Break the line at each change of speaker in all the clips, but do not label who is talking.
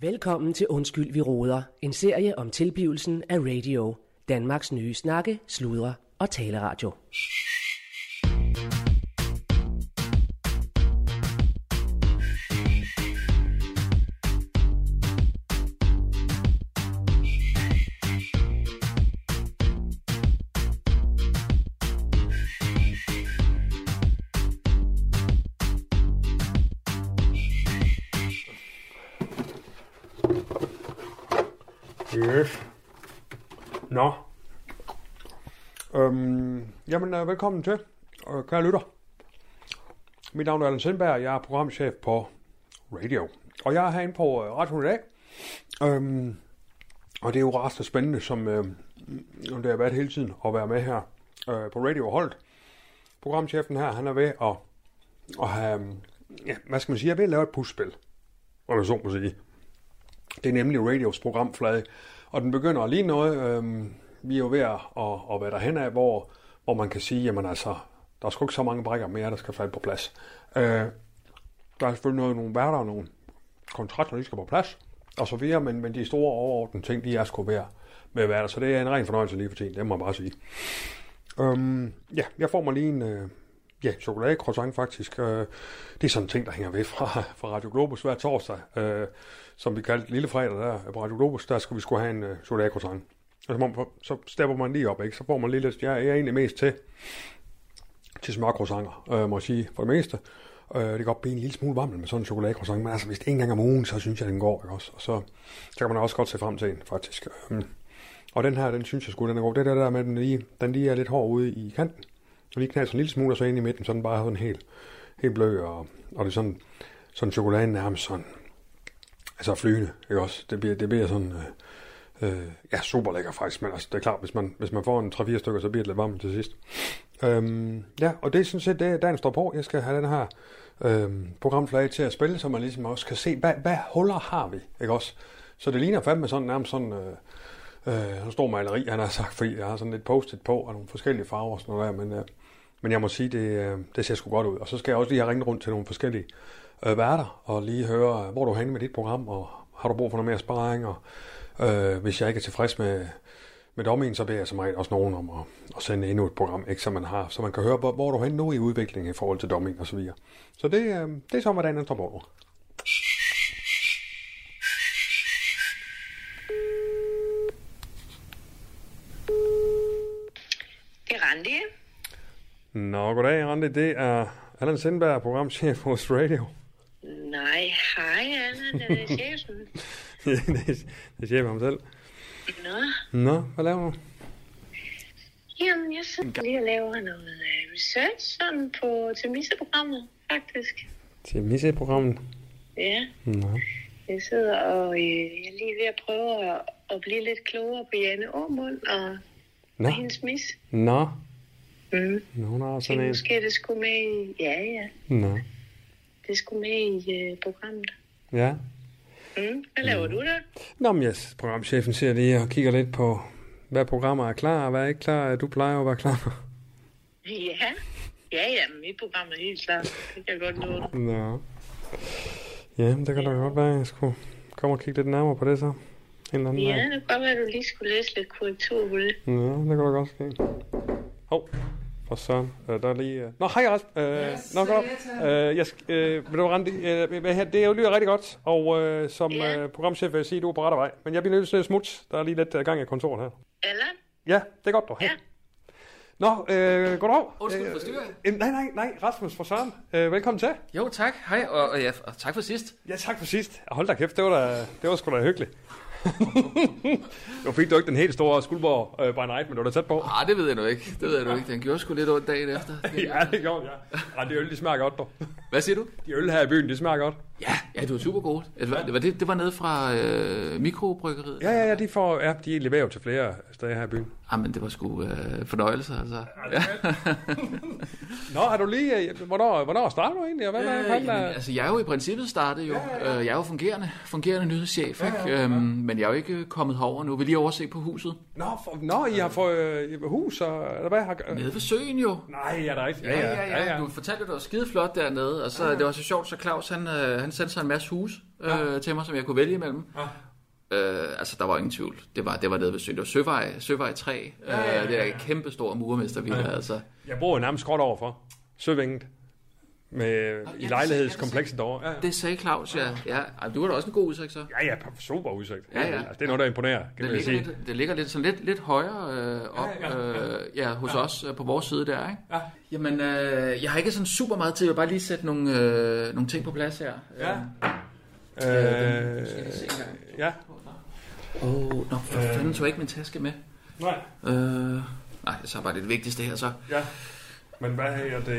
Velkommen til Undskyld, vi råder. En serie om tilblivelsen af radio. Danmarks nye snakke, sludre og taleradio.
Yes. Nå. Øhm, jamen, øh, velkommen til, øh, kære lytter. Mit navn er Allan Sindberg, og jeg er programchef på Radio. Og jeg er herinde på øh, Radio i dag. Øhm, og det er jo ret så spændende, som øh, det har været hele tiden at være med her øh, på Radio Holdt. Programchefen her, han er ved at, at have, øhm, ja, hvad skal man sige, jeg er ved at lave et puslespil. Eller så må sige. Det er nemlig radios programflade, og den begynder lige noget. Øhm, vi er jo ved at, at, at være derhen af, hvor, hvor man kan sige, jamen altså, der er sgu ikke så mange brækker mere, der skal falde på plads. Øh, der er selvfølgelig noget, nogle værter og nogle kontrakter, der lige skal på plads, og så videre, men, men de store overordnede ting, de er sgu ved at med at være der, så det er en ren fornøjelse lige for tiden, det må jeg bare sige. Øhm, ja, jeg får mig lige en øh, ja, chokoladecroissant faktisk. Øh, det er sådan en ting, der hænger ved fra, fra Radio Globus hver torsdag. Øh, som vi kaldte Lille Fredag der på Radio Globus, der skulle vi skulle have en øh, chokoladecroissant. Og så, må, man- så stepper man lige op, ikke? så får man lige lidt, jeg, jeg er egentlig mest til, til smørcroissanter, øh, må jeg sige, for det meste. Øh, det kan godt blive en lille smule varmt med sådan en chokoladecroissant, men altså hvis det er en gang om ugen, så synes jeg, den går, ikke også? Og så, så kan man også godt se frem til en, faktisk. Øhm, og den her, den synes jeg sgu, den er god. Det er det der med, at den lige, den lige er lidt hård ude i kanten. Og lige knaser en lille smule, og så ind i midten, så den bare er sådan helt, helt blød, og, og det er sådan, sådan chokoladen nærmest sådan, altså flyende, ikke også? Det bliver, det bliver sådan, øh, øh, ja, super lækker faktisk, men altså, det er klart, hvis man, hvis man får en 3-4 stykker, så bliver det lidt varmt til sidst. Øhm, ja, og det er sådan set det, dagen står på. Jeg skal have den her øhm, programflage til at spille, så man ligesom også kan se, hvad, hvad huller har vi, ikke også? Så det ligner fandme sådan nærmest sådan, øh, øh, en stor maleri, han har sagt, fordi jeg har sådan lidt postet på, og nogle forskellige farver og sådan noget der, men, øh, men jeg må sige, det, øh, det ser sgu godt ud. Og så skal jeg også lige have ringet rundt til nogle forskellige øh, værter, og lige høre, øh, hvor du er henne med dit program, og har du brug for noget mere sparring, og øh, hvis jeg ikke er tilfreds med, med dommen, så beder jeg som regel også nogen om at, at sende endnu et program, ikke, som man har, så man kan høre, hvor, hvor er du henne nu i udviklingen i forhold til dommen og så videre. Så det, øh, det er så, hvordan den står på.
Det er Randi.
Nå, goddag, Randi. Det er Allan Sindberg, programchef hos Radio.
Nej, hej Anna, det er chefen.
Ja, det, er- det er chefen ham selv.
Nå,
Nå, hvad laver du?
jamen jeg sidder lige og laver noget øh, research sådan på Temisa-programmet, faktisk.
Til misseprogrammet.
Ja,
Nå.
jeg sidder og øh, jeg er lige ved at prøve at, at blive lidt klogere på Janne Aumund og,
Nå,
og hendes mis.
nå.
Mm.
Nå, hun har
Så
sådan en.
måske det skulle med i, ja ja,
Nå.
det skulle med i øh, programmet.
Ja.
Mm. Hvad laver du der?
Nå, men yes, programchefen ser lige og kigger lidt på, hvad programmer er klar, og hvad er ikke klar. Du plejer jo at være klar.
Ja, ja ja, mit program er helt klart. Det kan jeg godt nå.
Nå. Ja, men det kan da godt være, jeg skulle komme og kigge lidt nærmere på det så. En eller anden
Ja,
dag.
det kan godt være, at du lige skulle læse lidt korrektur på det.
Ja, det kan da godt ske. Hov, for søren. Øh, der er lige... Øh... Nå, hej Rasmus. Øh, yes, nå, godt. Øh, jeg, sk- øh, vil du Randi, øh, hvad her, det er jo lyder rigtig godt, og øh, som
Ja.
øh, programchef vil jeg sige, du er på rette vej. Men jeg bliver nødt til at smutte. Der er lige lidt øh, gang i kontoret her.
Allan?
Ja, det er godt, du. Hej.
Ja.
Nå, øh, goddag.
Undskyld,
Øh,
forstyrrer
øh, nej, nej, nej, Rasmus for søren. Øh, velkommen til.
Jo, tak. Hej, og, og, ja, og tak for sidst.
Ja, tak for sidst. Hold da kæft, det var, da, det var sgu da hyggeligt. nu fik du ikke den helt store skuldborg øh, by night, men du var da tæt på.
Ah, det ved jeg nu ikke. Det ved jeg nu ikke. Den gjorde sgu lidt ondt dagen efter.
Ja, det gjorde jeg. Ej, de øl, de smager godt, dog.
Hvad siger du?
De øl her i byen, de smager godt.
Ja, ja, du var super god. Det var, det, var- det var nede fra øh, mikrobryggeriet.
Ja, ja, ja, de får, ja, de er leverer til flere steder her i byen.
Ah, men det var sgu øh, fornøjelse, altså. Ja.
Nå, har du lige, øh, hvornår, hvornår starter du egentlig, og hvad er
Øh,
det,
jamen, altså, jeg er jo i princippet startet jo. Øh, Jeg er jo fungerende, fungerende nyhedschef, ikke? Øhm, men jeg er jo ikke kommet herover nu. Vi er lige over at se på huset.
Nå, for, nå, I har fået øh, hus, og, eller hvad? Har, øh,
Nede ved søen jo.
nej, er der ikke?
Du fortalte, at det var skide flot dernede, og så ja. det var så sjovt, så Claus han, øh, han sendte sig en masse hus øh, ja. til mig, som jeg kunne vælge imellem. Ja. Øh, altså, der var ingen tvivl. Det var, det var nede ved Søen. Det var Søvej, Søvej 3. Ja, ja, ja, ja. Det er en kæmpe stor murmestervilla, ja. altså.
Jeg bor jo nærmest godt overfor. Søvinget. Med, I
se,
lejlighedskomplekset derovre. Ja, ja.
Det sagde Claus, ja. ja. Ej, du har da også en god udsigt, så.
Ja, ja, super udsigt.
Ja, ja.
Altså, det er noget, der imponerer, kan
Det
jeg
ligger,
sige.
lidt, det ligger lidt, sådan lidt, lidt højere øh, op ja, ja, ja. Øh, ja, hos ja. os øh, på vores side der, ikke?
Ja.
Jamen, øh, jeg har ikke sådan super meget tid. Jeg vil bare lige sætte nogle, øh, nogle ting på plads her.
Ja.
Øh,
Øh,
skal lige se engang.
ja.
Åh, oh, nå, for øh. fanden tog jeg ikke min taske med.
Nej.
Øh, nej, så er bare det vigtigste her så.
Ja. Men hvad er det...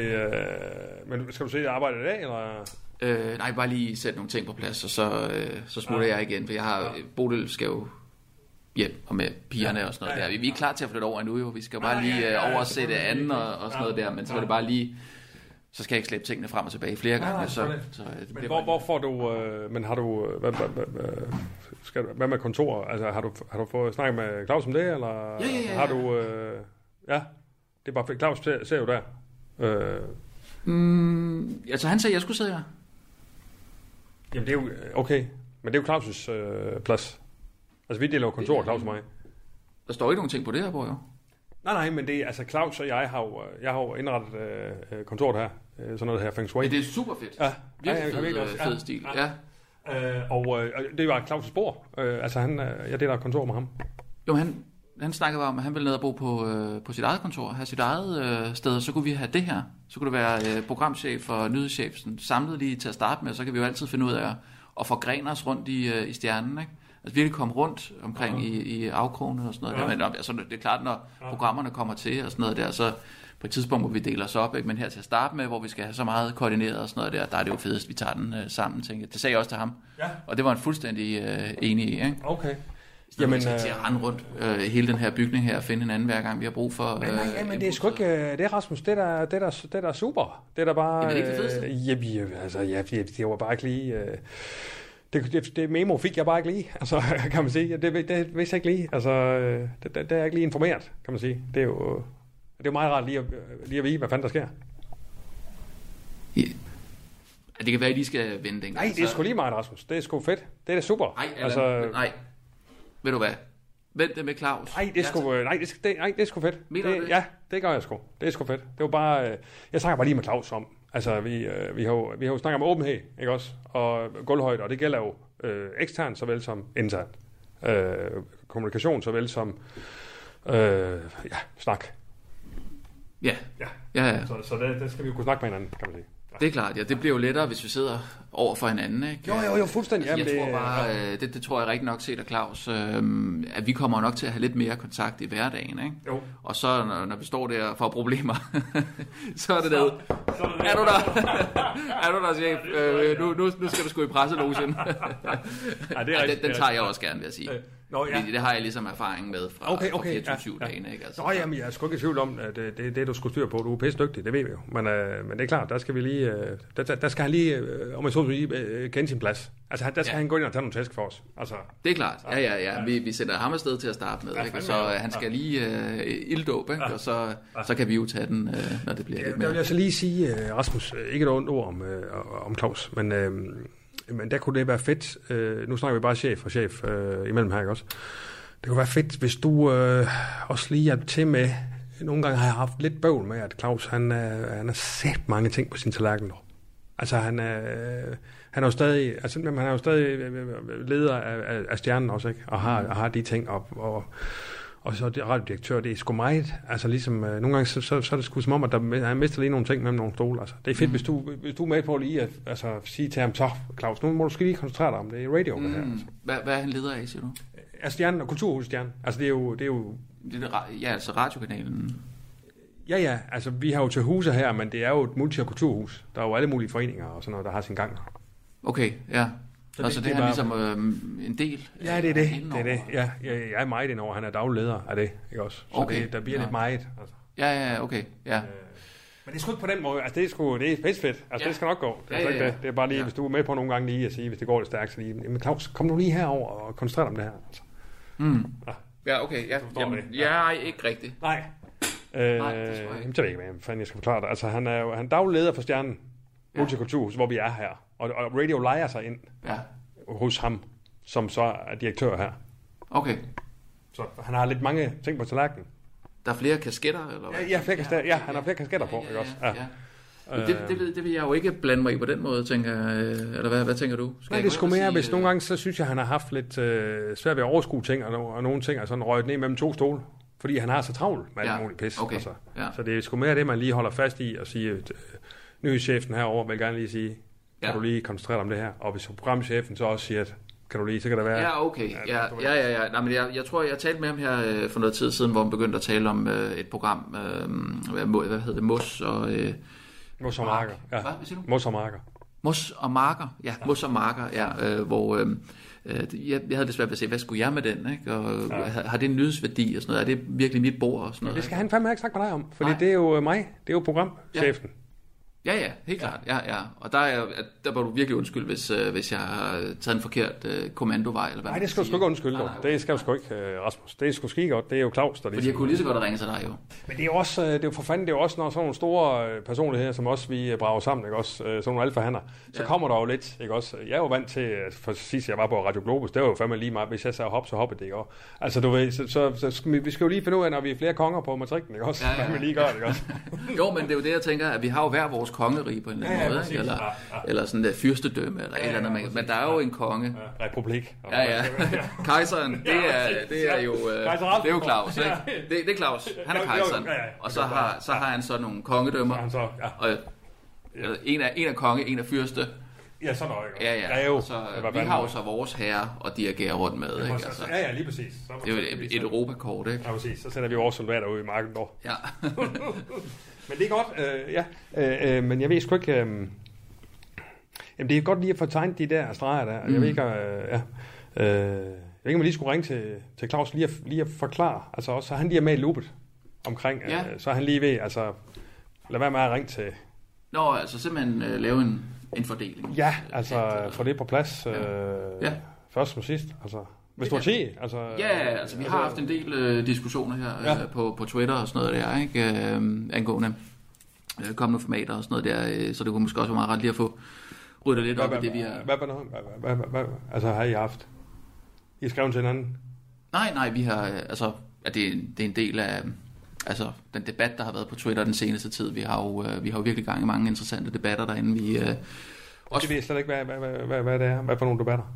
Øh, men skal du se, at jeg arbejder i dag, eller...
Øh, nej, bare lige sætte nogle ting på plads, og så, øh, så smutter jeg igen, for jeg har... Ja. Bodil skal jo hjem og med pigerne og sådan noget
Ja,
ja,
ja.
der. Vi, vi er ikke klar til at flytte over endnu, jo. Vi skal jo bare lige øh, oversætte anden og, og sådan noget der, men så var det bare lige... Så skal jeg ikke slæbe tingene frem og tilbage flere
nej,
gange, så,
selvfølgelig.
så øh, det
Men
bliver
hvor,
bare-
hvor får du... Øh, men har du... øh, Hvad, hvad, hvad, hvad, skal, du- hvad med kontor? Altså, har du, har du fået snakket med Claus om det, eller...
Ja, ja, ja,
Har
ja.
du... Øh, ja, det er bare... fedt. Claus ser, ser jo der. Øh,
Mm, altså, han sagde, at jeg skulle sidde her.
jamen, det er jo... Okay. Men det er jo Claus' øh, plads. Altså, vi deler jo kontor, Claus og mig.
Der står ikke nogen ting på det her bord, jo.
Nej, nej, men det er... Altså, Claus og jeg har jo, jeg har jo indrettet øh, øh, kontoret her. Øh, sådan noget her, Feng Shui.
Men det er super fedt.
Ja. Ja, jeg kan
Virkelig fed,
virkelig
øh,
også- ja.
fed stil.
Ja.
Ja.
Øh, og øh, og det var Claus' bord. Øh, altså, han, øh, jeg deler kontor med ham.
Jo, men han, han snakkede bare om, at han ville ned og bo på, øh, på sit eget kontor, have sit eget øh, sted, og så kunne vi have det her. Så kunne det være øh, programchef og nyhedschef sådan, samlet lige til at starte med, og så kan vi jo altid finde ud af at, at forgrene os rundt i, øh, i stjernen, ikke? Altså virkelig komme rundt omkring ja. i, i afkrogene og sådan noget. Ja. Der. Men altså, det er klart, når ja. programmerne kommer til og sådan noget der, så på et tidspunkt må vi dele os op, ikke? men her til at starte med, hvor vi skal have så meget koordineret og sådan noget der, der er det jo fedest, vi tager den øh, sammen, tænker jeg. Det sagde jeg også til ham,
Ja.
og det var han fuldstændig øh, enig i. Ikke?
Okay.
Jamen, øh,
Jamen,
man skal til at rende rundt øh, i hele den her bygning her og finde hinanden hver gang, vi har brug for...
Nej, nej, men det er
input.
sgu ikke, øh, det er Rasmus, det er der, det er der, det er der super. Det er der bare...
Jamen, er det ikke det fedeste?
Øh, ja, vi, øh, altså, ja, vi- det var bare ikke lige... Øh, det, det, det memo fik jeg bare ikke lige, altså, kan man sige. Det, det vidste jeg ikke lige. Altså, øh, det, det, det, er jeg ikke lige informeret, kan man sige. Det er jo, det er jo meget rart lige at, øh, lige at vide, hvad fanden der sker.
Ja. Det kan være, at I lige skal vende den.
Nej, det er sgu lige meget, Rasmus. Det er sgu fedt. Det er da super.
Nej, altså... nej. Ved du hvad? Vent det med Claus.
Nej, det er sgu, øh, nej, det, skal- det, nej, det er sgu fedt.
Mener du
det,
det?
Ja, det gør jeg sgu. Det er sgu fedt. Det var bare, øh, jeg snakker bare lige med Claus om, altså vi, øh, vi, har, jo, vi har jo snakket om åbenhed, ikke også? Og gulvhøjde, og det gælder jo øh, eksternt såvel som internt. Øh, kommunikation såvel som, øh, ja, snak.
Ja,
Ja.
ja, ja.
Så, så det, det, skal vi jo kunne snakke med hinanden, kan man sige.
Det er klart, ja. Det bliver jo lettere, hvis vi sidder over for hinanden, ikke?
Jo, jo, jo, fuldstændig.
Jamen, jeg
Jamen,
tror bare, øh, det, det tror jeg rigtig nok set af Claus, øh, at vi kommer nok til at have lidt mere kontakt i hverdagen, ikke?
Jo.
Og så, når, når vi står der for problemer, så er det der. Er du der? er du der, chef? Øh, nu, nu, nu skal du sgu i presselogen.
Ja, det
Ej,
er rigtigt.
den, den
det er
tager jeg også gerne, vil jeg sige.
Øh, Nå, ja.
Fordi det har jeg ligesom erfaring med fra,
Okay, okay, ja,
fra 24
ja.
dagen, ikke? Altså,
Nå, jamen, jeg er sgu ikke i tvivl om, at øh, det, det, det du skulle styre på, du er pisse dygtig, det ved vi jo. Men, øh, men det er klart, der skal vi lige, øh, der, der, der skal han lige, øh, om jeg så må sige, øh, kende sin plads. Altså, han- der skal ja.
Ja.
han gå ind og tage nogle tæsk for os. Altså,
Det er klart. Ja, ja, ja. Vi, vi sender ham afsted til at starte med, ikke? Og så øh, han skal lige øh, ilddåbe, ikke? Og så, så kan vi jo tage den, øh, når det bliver lidt
der vil
mere.
jeg så lige sige, øh, Rasmus, øh, ikke et ondt ord om, øh, om Claus, men, øh, men der kunne det være fedt, øh, nu snakker vi bare chef og chef øh, imellem her, ikke også? Det kunne være fedt, hvis du øh, også lige hjalp til med, nogle gange har jeg haft lidt bøvl med, at Claus, han, øh, han har set mange ting på sin tallerken nu. Altså, han er, øh, han er jo stadig, altså, men han er jo stadig øh, øh, leder af, af, af stjernen også, ikke? Og har, og har de ting, og, og, og så er det radiodirektør, det er sgu meget. Altså, ligesom, øh, nogle gange, så, så, så er det sgu som om, at der, han mister lige nogle ting mellem nogle stole, altså. Det er fedt, mm. hvis, du, hvis du er med på lige at altså, sige til ham, så, Claus, nu må du skal lige koncentrere dig om det, er radio, mm. det her.
Mm. Hvad, hvad er han leder af, siger du?
Er stjernen og kulturhusstjernen, altså, det er jo, det er jo
Det er, ra- ja, altså radiokanalen.
Ja, ja, altså vi har jo til huse her, men det er jo et multi- og kulturhus. Der er jo alle mulige foreninger og sådan noget, der har sin gang.
Okay, ja.
Så det-
Så det, altså, det,
det
det
er
er han
bare-
ligesom øh, en del
Ja, det er
af-
det.
inden
det, er det.
over.
Ja, ja, jeg er meget indover, han er dagleder af det, ikke også? Så
Okay.
det, der bliver
Nå.
lidt meget. Altså.
Ja, ja, okay. Ja.
Øh, Men det er sgu ikke på den måde. Altså, det er sgu det er pisse fedt. Altså,
Ja.
det skal nok gå. Det er,
Ja,
slet ikke
ja, ja.
Det. det er bare lige,
Ja.
hvis du er med på nogle gange lige at sige, hvis det går lidt stærkt, så lige, men Claus, kom nu lige herover og koncentrer dig om det her. Altså.
Mm. Ja, okay. Ja,
forstår
Jamen,
det.
ja, ej, ikke rigtigt.
Nej. Øh,
Nej, det tror jeg ikke.
Jamen, jeg ved ikke, hvad fanden jeg skal forklare dig. Altså, han er jo han er dagleder for Stjernen, ja. Multikulturhus, hvor vi er her. Og, og Radio leger sig ind.
Ja.
hos ham, som så er direktør her.
Okay.
Så han har lidt mange ting på tallerkenen.
Der er flere kasketter, eller hvad?
Ja, ja, flere kasketter, ja, han har flere kasketter på, ikke også? Ja.
Men Det, det, ved, det vil jeg jo ikke blande mig i på den måde, tænker jeg. Øh, Eller hvad, hvad tænker du? Skal
Nej,
jeg
det
gå
skulle
ind og
mere,
sige, øh,
hvis nogle gange, så synes jeg, han har haft lidt øh, svært ved at overskue ting, og, no- og nogle ting er sådan røget ned mellem to stole, fordi han har så travlt med alt
Ja,
muligt pis.
okay,
Altså.
ja.
Så det er sgu mere det, man lige holder fast i og siger, at øh, nyhedschefen herover vil gerne lige sige, kan
Ja.
du lige koncentrere dig om det her? Og hvis programchefen så også siger, at kan du lige, så kan det være...
Ja, okay. Ja, ja, ja. ja. Nej, men jeg, jeg tror, jeg talte med ham her øh, for noget tid siden, hvor han begyndte at tale om øh, et program, øh, hvad, må- hvad hedder det, Mos og... Øh,
Mos og marker. Ja.
Hvad? Hvad siger du?
Mos og marker.
Mos og Marker, ja, Mos og Marker, ja, øh, hvor øh, øh, det- jeg, jeg havde lidt svært ved at se, hvad skulle jeg med den, ikke? Og, ja. har, har det en nyhedsværdi og sådan noget? Er det virkelig mit bord og sådan noget?
Det skal han fandme ikke snakke med dig om, fordi
Nej.
Nej. det er jo øh, mig, det er jo programchefen.
Ja, ja, helt klart. Ja, ja. Og der, er, jeg- der var du virkelig undskyld, hvis, øh, hvis jeg har taget en forkert øh, kommandovej. Eller hvad
Nej,
man
det skal du sgu
siger.
ikke undskylde, dog.
Nej, nej.
det skal du sgu ikke, øh, Rasmus. Det er sgu skide godt, det er jo Claus, der
Fordi jeg
ligesom...
kunne lige så godt ringe til dig, jo.
Men det er jo også, øh, det er jo for fanden, det er jo også, når sådan nogle store øh, personligheder, som også vi øh, brager sammen, ikke også, øh, sådan nogle alfahander, så
Ja.
kommer der jo lidt, ikke også. Jeg er jo vant til, øh, for sidst jeg var på Radio Globus, det var jo fandme lige meget, hvis jeg sagde hop, så hoppede det, ikke også. Altså, du ved, så, så, så, skal vi- vi skal jo lige finde ud af, når vi er flere konger på matriklen, ikke også,
Ja,
ja,
ja,
ja.
ja.
hvad man lige gør, ikke også.
Jo, men det er jo det, jeg tænker, at vi har jo hver vores kongerige på en eller anden
Ja, ja,
måde,
præcis.
ikke? Eller,
Ja,
eller sådan der fyrstedømme, eller ja, et eller andet. Men- Men der er jo en konge.
Republik. og-
Ja, ja. Kejseren, det er, det er jo, øh, det
Kejser
er
Ralf.
jo Claus, ikke? Det, det er Claus, han er
Jo, jo,
kejseren.
ja, ja.
Og så har, så har han så nogle kongedømmer.
Så han så- ja.
Og, eller en er, en er konge, en er fyrste.
Ja, sådan noget, ikke
Ja,
også.
ja.
Der er jo,
og så, øh,
hvad
vi
fanden-
har jo så vores herre og dirigerer rundt med, ikke? Altså,
Ja, ja, lige præcis. Så,
det er jo et, et europakort, ikke?
Ja, præcis. Så sender vi vores soldater ud i marken dog.
Ja.
Men det er godt, øh, ja. Øh, øh, men jeg ved sgu ikke... Øh, jamen, det er godt lige at få tegnet de der streger der. Mm. Jeg ved ikke, øh, ja. Øh, jeg ved ikke, om jeg lige skulle ringe til, til Claus lige at, lige at forklare. Altså også, så han lige er med i loopet omkring.
Ja.
Øh, så han lige ved, altså... Lad være med at ringe til...
Nå, altså simpelthen øh, lave en, en fordeling.
Ja, altså få det på plads. Øh,
Ja.
Først som sidst, altså... Hvis du har tid, altså...
Ja, altså vi har haft en del øh, diskussioner her ja.
Ja.
øh, på, på Twitter og sådan noget der, ikke? Øh, angående øh, kommende formater og sådan noget der, øh, så det kunne måske også være meget rart lige at få ryddet lidt op i
Hvad-
det, vi
hvad-
har...
hvad- hvad- hvad- hvad- hvad- Altså, har I haft? I har skrevet til hinanden?
Nej, nej, vi har... øh, Altså, at det, er en- det er en del af... Altså, den debat, der har været på Twitter den seneste tid, vi har jo, øh, vi har jo virkelig gang i mange interessante debatter derinde. Vi, øh,
Også... Det ved jeg slet ikke, hvad, hvad, hvad, hvad, hvad det er. Hvad for nogle debatter?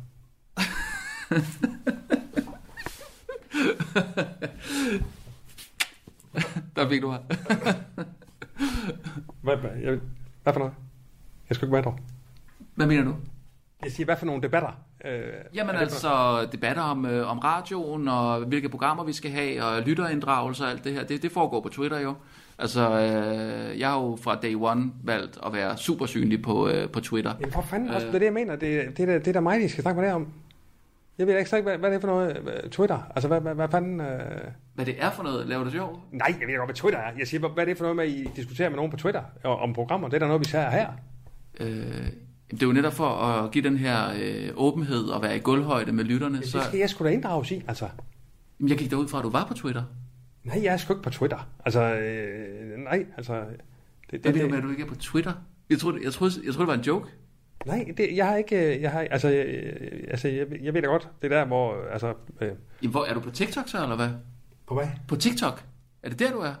der fik du her.
Hvad, hvad, jeg, hvad for noget? Jeg skal ikke være der.
Hvad mener du?
Jeg siger, hvad for nogle debatter? Øh,
Jamen
er det for-
altså, debatter om, øh, om radioen, og hvilke programmer vi skal have, og lytterinddragelser og alt det her, det, det foregår på Twitter jo. Altså, øh, jeg har jo fra day one valgt at være super synlig på, øh, på Twitter.
Jamen for fanden, øh... det er det, jeg mener. Det, det, er da- det er da mig, de skal snakke med dig om. Jeg ved da ikke slet ikke, hvad, hvad det er for noget øh, Twitter. Altså, hvad, hvad, hvad fanden... Øh...
Hvad det er for noget, laver du sjov?
Nej, jeg ved ikke, hvad Twitter er. Jeg siger, hvad, hvad er det for noget med, at I diskuterer med nogen på Twitter og, om programmer? Det er da noget, vi ser her.
Øh, det er jo netop for at give den her øh, åbenhed og være i gulvhøjde med lytterne.
Det
Så,
skal jeg sgu da inddrages i, altså.
Jamen, jeg gik derud fra, at du var på Twitter.
Nej, jeg er sgu ikke på Twitter. Altså, øh, nej, altså... Det,
Hvad
det,
mener
det,
du med, at du ikke er på Twitter? Jeg troede, jeg, troede, jeg troede, det var en joke.
nej, det, jeg har ikke... øh, Jeg har, altså, jeg, øh, altså jeg, jeg ved da godt, det er der, hvor... øh, Altså, øh,
Jamen, hvor, er du på TikTok så, eller hvad?
på hvad?
På TikTok? Er det der, du er?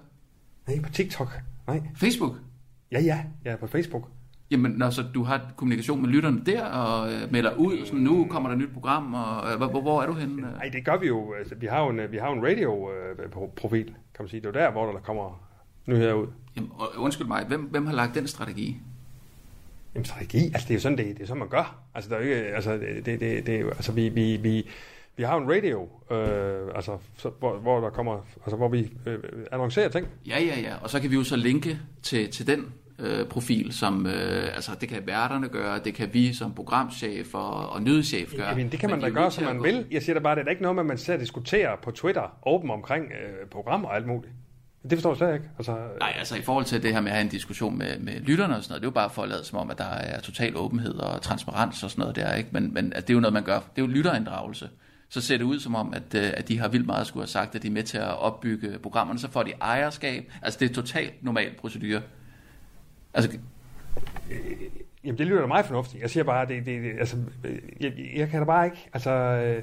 Nej, på TikTok. Nej.
Facebook?
Ja, ja. Jeg er på Facebook.
Jamen, når så du har kommunikation med lytterne der, og øh, melder ud, sådan, nu kommer der et nyt program, og øh, hvor, hvor er du henne?
Nej, det gør vi jo. Altså, vi har jo en, øh, vi har jo en radio-profil, kan man sige. Det er jo der, hvor der kommer nyheder ud.
Jamen, og- undskyld mig, hvem, hvem har lagt den strategi?
Jamen, strategi. Altså, det er jo sådan, det, det er sådan, man gør. Altså, der er jo ikke... Altså, det, det, det, det er jo- altså vi, vi, vi, vi har jo en radio, øh, altså, så, hvor, hvor der kommer... Altså, hvor vi øh, annoncerer ting.
Ja, ja, ja, og så kan vi jo så linke til, til den øh, profil, som øh, altså, det kan værterne gøre, det kan vi som programchef og, og nyhedschef gøre.
Jamen, det kan man
Men
da
vi er jo
gøre,
nødt
som
til at
man
gå-
vil. Jeg siger da bare, at det er da ikke noget med, at man sidder og diskuterer på Twitter, åben omkring øh, programmer og alt muligt. Det forstår jeg slet ikke. Altså,
Nej, altså i forhold til det her med at have en diskussion med, med lytterne og sådan noget, det er jo bare for at lade som om, at der er total åbenhed og transparens og sådan noget der, ikke? Men, men at det er jo noget, man gør. Det er jo lytterinddragelse. Så ser det ud som om, at, øh, at de har vildt meget at skulle have sagt, at de er med til at opbygge programmerne, så får de ejerskab. Altså det er totalt normal procedure. Altså,
Jamen, det lyder da meget fornuftigt. Jeg siger bare, det, det, det altså, øh, jeg, jeg, kan da bare ikke, altså... øh,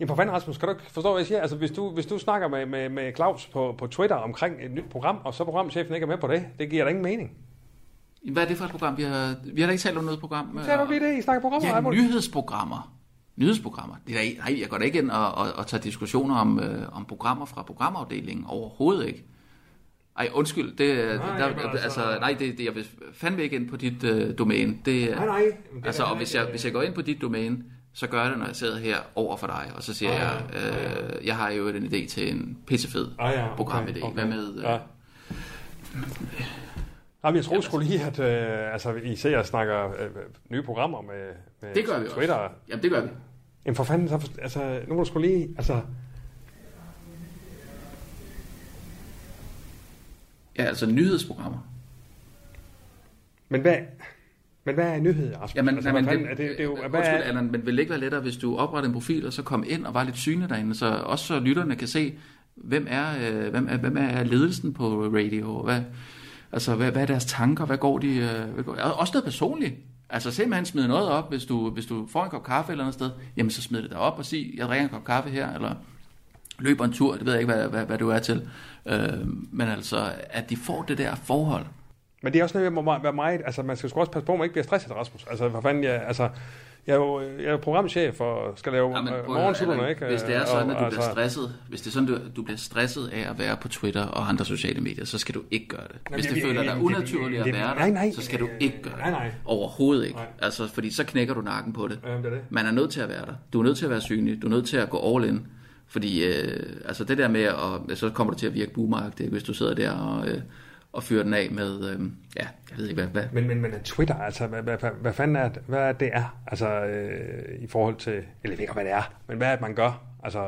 Jamen for fanden, Rasmus, kan du ikke forstå, hvad jeg siger? Altså, hvis du, hvis du snakker med, med, med Claus på, på Twitter omkring et nyt program, og så programchefen ikke er med på det, det giver da ingen mening.
Hvad er det for et program? Vi har, vi har da ikke talt om noget program.
Så er du lige det, I snakker programmer.
Ja,
alt muligt.
nyhedsprogrammer. Nyhedsprogrammer. Det er der, nej, jeg går da ikke ind og, og, og tager diskussioner om, øh, om programmer fra programafdelingen. Overhovedet ikke. Ej, undskyld. Det, nej, der,
jamen, altså-
altså, altså, nej, det, det, jeg vil fandme ikke ind på dit øh, domæne. Det,
Nej, nej. Men det
Altså,
er
og
ikke,
hvis jeg,
øh,
hvis jeg går ind på dit domæne, så gør jeg det, når jeg sidder her over for dig, og så siger
Ah,
jeg, øh, jeg har jo en idé til en pissefed
Ah, ja, okay,
programidé.
okay.
Hvad med... Øh,
Ja. Jamen, jeg troede sgu lige, at øh, altså, I ser og snakker øh, nye programmer med, med
Det gør vi også.
Twitter. Også.
Jamen, det gør vi.
Jamen for fanden, så, forst- altså, nu må du sgu lige... Altså,
Ja, altså nyhedsprogrammer.
men, hvad, men hvad er nyhed, Rasmus?
Jamen,
altså,
nej, men
hvad fanden,
det,
er det, det er jo,
øh,
hvad
undskyld,
er,
Allan, men vil det ikke være lettere, hvis du opretter en profil, og så kom ind og var lidt synlig derinde, så også så lytterne kan se, hvem er, øh, hvem er, hvem er ledelsen på radio, og hvad, altså, hvad, hvad er deres tanker, hvad går de... Øh, hvad går, og også noget personligt. Altså simpelthen smide noget op, hvis du, hvis du får en kop kaffe et eller andet sted, jamen så smid det der op og sig, jeg drikker en kop kaffe her, eller løber en tur, det ved jeg ikke, hvad, hvad, hvad du er til. Øh, men altså, at de får det der forhold.
men det er også noget, jeg må være meget... Altså, man skal sgu også passe på, at man ikke bliver stresset, Rasmus. Altså, for fanden, jeg... Altså, jeg er jo jeg er jo programchef og skal lave
Ja, men
øh,
prøv at høre,
morgensutterne,
Allan,
ikke?
Hvis det er
Og-
sådan, at du
altså,
bliver stresset, hvis det er sådan, du, du bliver stresset af at være på Twitter og andre sociale medier, så skal du ikke gøre det. Hvis
jeg-
det
jeg-
føler
jeg-
dig
jeg-
unaturligt
jeg-
at være
nej, nej,
der, så skal du
øh,
ikke gøre
nej, nej.
det. Overhovedet ikke.
Nej.
Altså, fordi så knækker du nakken på det.
Jamen, det er det.
Man er nødt til at være der. Du er nødt til at være synlig. Du er nødt til at gå all in. Fordi øh, altså det der med, at, så kommer du til at virke boomeragtigt, hvis du sidder der og, øh, og fyrer den af med, øh, ja, jeg ved ikke hvad, hvad,
Men, men, men at Twitter, altså, hvad, hvad, hvad, hvad fanden er det, hvad er det, det er? Altså, øh, i forhold til... Eller jeg ved ikke, hvad det er, men hvad er det, man gør? Altså,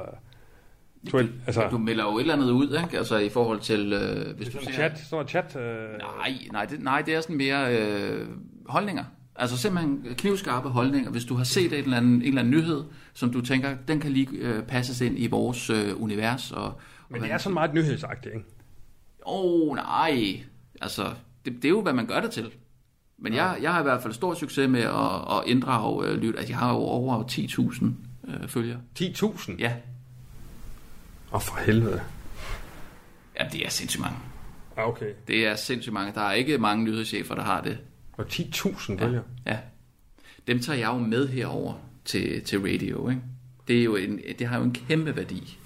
Twitter, altså,
du melder jo et eller andet ud, ikke? Altså i forhold til, øh, hvis du
sådan
ser...
en chat, sådan en chat... Øh,
Nej, nej, det, nej, det er sådan mere øh, holdninger. Altså simpelthen knivskarpe holdninger. Hvis du har set et eller andet, en eller anden nyhed, som du tænker, den kan lige øh, passes ind i vores øh, univers. Og, og
men det
hvad-
er sådan meget nyhedsagtigt, ikke?
Åh, oh, nej. Altså, det, det er jo, hvad man gør det til. Men jeg, jeg har i hvert fald stor succes med at, at inddrage øh, lyt. Altså, jeg har jo over 10.000 øh, følgere.
10.000?
Ja.
Åh, oh, for helvede.
ja, det er sindssygt mange.
Ah, okay.
Det er sindssygt mange. Der er ikke mange nyhedschefer, der har det.
Og 10.000
Ja.
bølger.
ja. Dem tager jeg jo med herover til, til radio, ikke? Det, er jo en, det har jo en kæmpe værdi.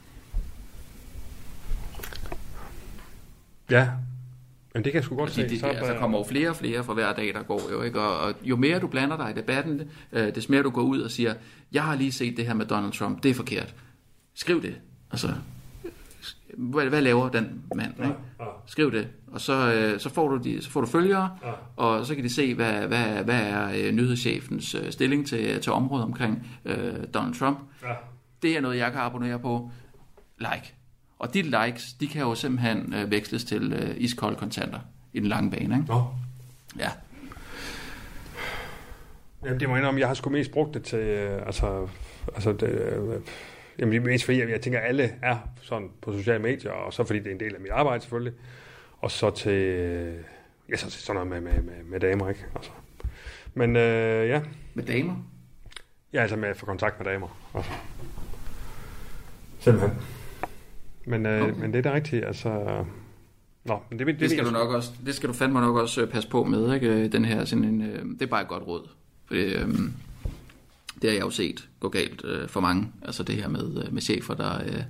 Ja. Men det kan jeg sgu godt
Fordi
se.
det,
så,
så, altså, der kommer jo flere og flere for hver dag, der går jo, ikke? Og, og jo mere du blander dig i debatten, øh, des mere du går ud og siger, jeg har lige set det her med Donald Trump, det er forkert. Skriv det. Altså, hvad, hvad laver den mand? Ikke? Skriv det, og så, øh, så, får du de, så får du følgere, og så kan de se, hvad, hvad, hvad er øh, nyhedschefens øh, stilling til, til området omkring øh, Donald Trump. Det er noget, jeg kan abonnere på. Like. Og de likes, de kan jo simpelthen øh, veksles til øh, iskolde kontanter i den lange bane. Ikke?
Nå.
Ja.
Jamen, det må jeg indrømme, jeg har sgu mest brugt det til, øh, altså, altså det, øh, jamen, det er mest fordi, jeg, jeg tænker, at alle er sådan på sociale medier, og så fordi det er en del af mit arbejde selvfølgelig, og så til, øh, ja, så til sådan noget med, med, med, med damer, ikke? Altså. Men øh, ja,
Med damer.
ja, altså med at få kontakt med damer. Altså. Simpelthen. Men, øh,
Okay.
men det er da rigtigt, altså... Nå, men det, det,
Det skal, du nok også, det skal du fandme nok også øh, passe på med, ikke? Den her sådan en, øh, det er bare et godt råd. For det, øh, det har jeg jo set gå galt øh, for mange. Altså det her med, øh, med chefer, der, øh,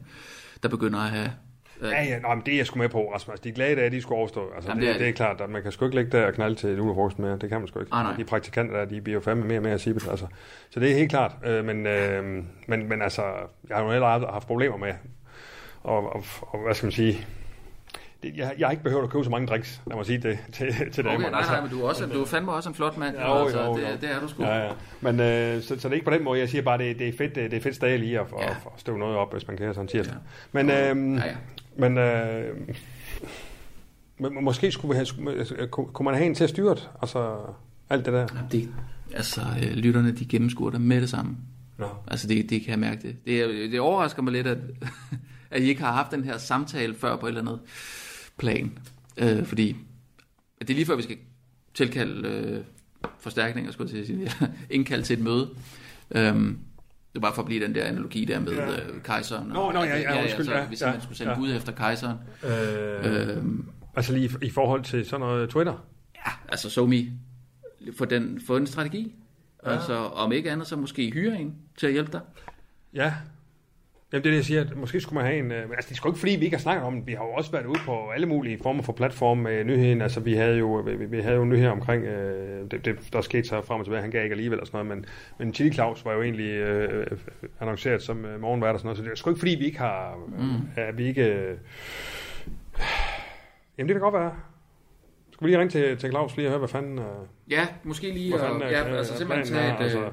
der begynder at have... Øh,
Ja, ja, nej, men det er jeg sgu med på, Rasmus. De er glade af, at de skulle overstå. Altså,
Jamen,
det, det,
det er
er
de.
det, er klart, at man kan sgu ikke ligge der og knalde til julefrokosten mere. Det kan man sgu ikke.
Ah, nej.
de praktikanter der, de bliver jo fandme mere og mere sibbet, altså. Så det er helt klart. Øh, men, øh, men, men altså, jeg har jo heller aldrig haft problemer med. Og, og, og hvad skal man sige? Det, jeg, jeg har ikke behøvet at købe så mange drinks, lad mig sige det, til, til
okay,
damer.
nej, nej, men du er, også, du er fandme også en flot mand.
altså- Ja, jo,
altså,
jo, jo.
Det, det er du sgu.
Ja, ja. Men øh, så, så det er ikke på den måde. Jeg siger bare, det, det er fedt, øh, det er fedt stadig lige at, ja.
Ja.
at, at støve noget op, hvis man kan sådan tirsdag.
Ja.
Ja. Men, øh,
Ja, ja.
men, øh, men må- måske skulle vi have, skulle- kunne kunne man have en til at styre det? Altså, alt det der.
Jamen, Det, altså, øh, lytterne, de gennemskuer dig med det samme.
Nå.
Altså, det, det kan jeg mærke det. det. er- Det overrasker mig lidt, at, at I ikke har haft den her samtale før på et eller andet plan. Øh, fordi at det er lige før, vi skal tilkalde øh, forstærkninger, skulle jeg til at sige, indkaldt til et møde. Øhm, det var bare for at blive den der analogi der med
Ja.
øh, kejseren.
Nå, nå, ja, ja, undskyld,
så
ja,
hvis
ja,
man skulle sende
ja.
Gud efter kejseren.
Øh, øh.
Øhm,
Altså lige i, i forhold til sådan noget Twitter.
ja, altså SoMe, få, den, få en strategi. Ja. Altså om ikke andet, så måske hyre en til at hjælpe dig.
Ja. Jamen det er det, jeg siger, at måske skulle man have en... Øh,
Men altså, det er sgu ikke, fordi vi ikke har snakket om det. Vi har jo også været ude på alle mulige former for platforme med nyheden. Altså, vi havde jo, vi, vi havde jo en nyhed omkring, øh, det, det, der skete så frem og tilbage. Han gav ikke alligevel og sådan noget, men, men Chili Claus var jo egentlig øh, øh, annonceret som øh, morgenvært og sådan noget. Så det er sgu ikke, fordi vi ikke har... Øh, at vi ikke... Øh, jamen, det kan godt være. Skal vi lige ringe til, til Claus lige og høre, hvad fanden... Øh,
Ja, måske lige
hvad fanden
at, ja,
øh,
altså,
planen er,
simpelthen tage et, altså.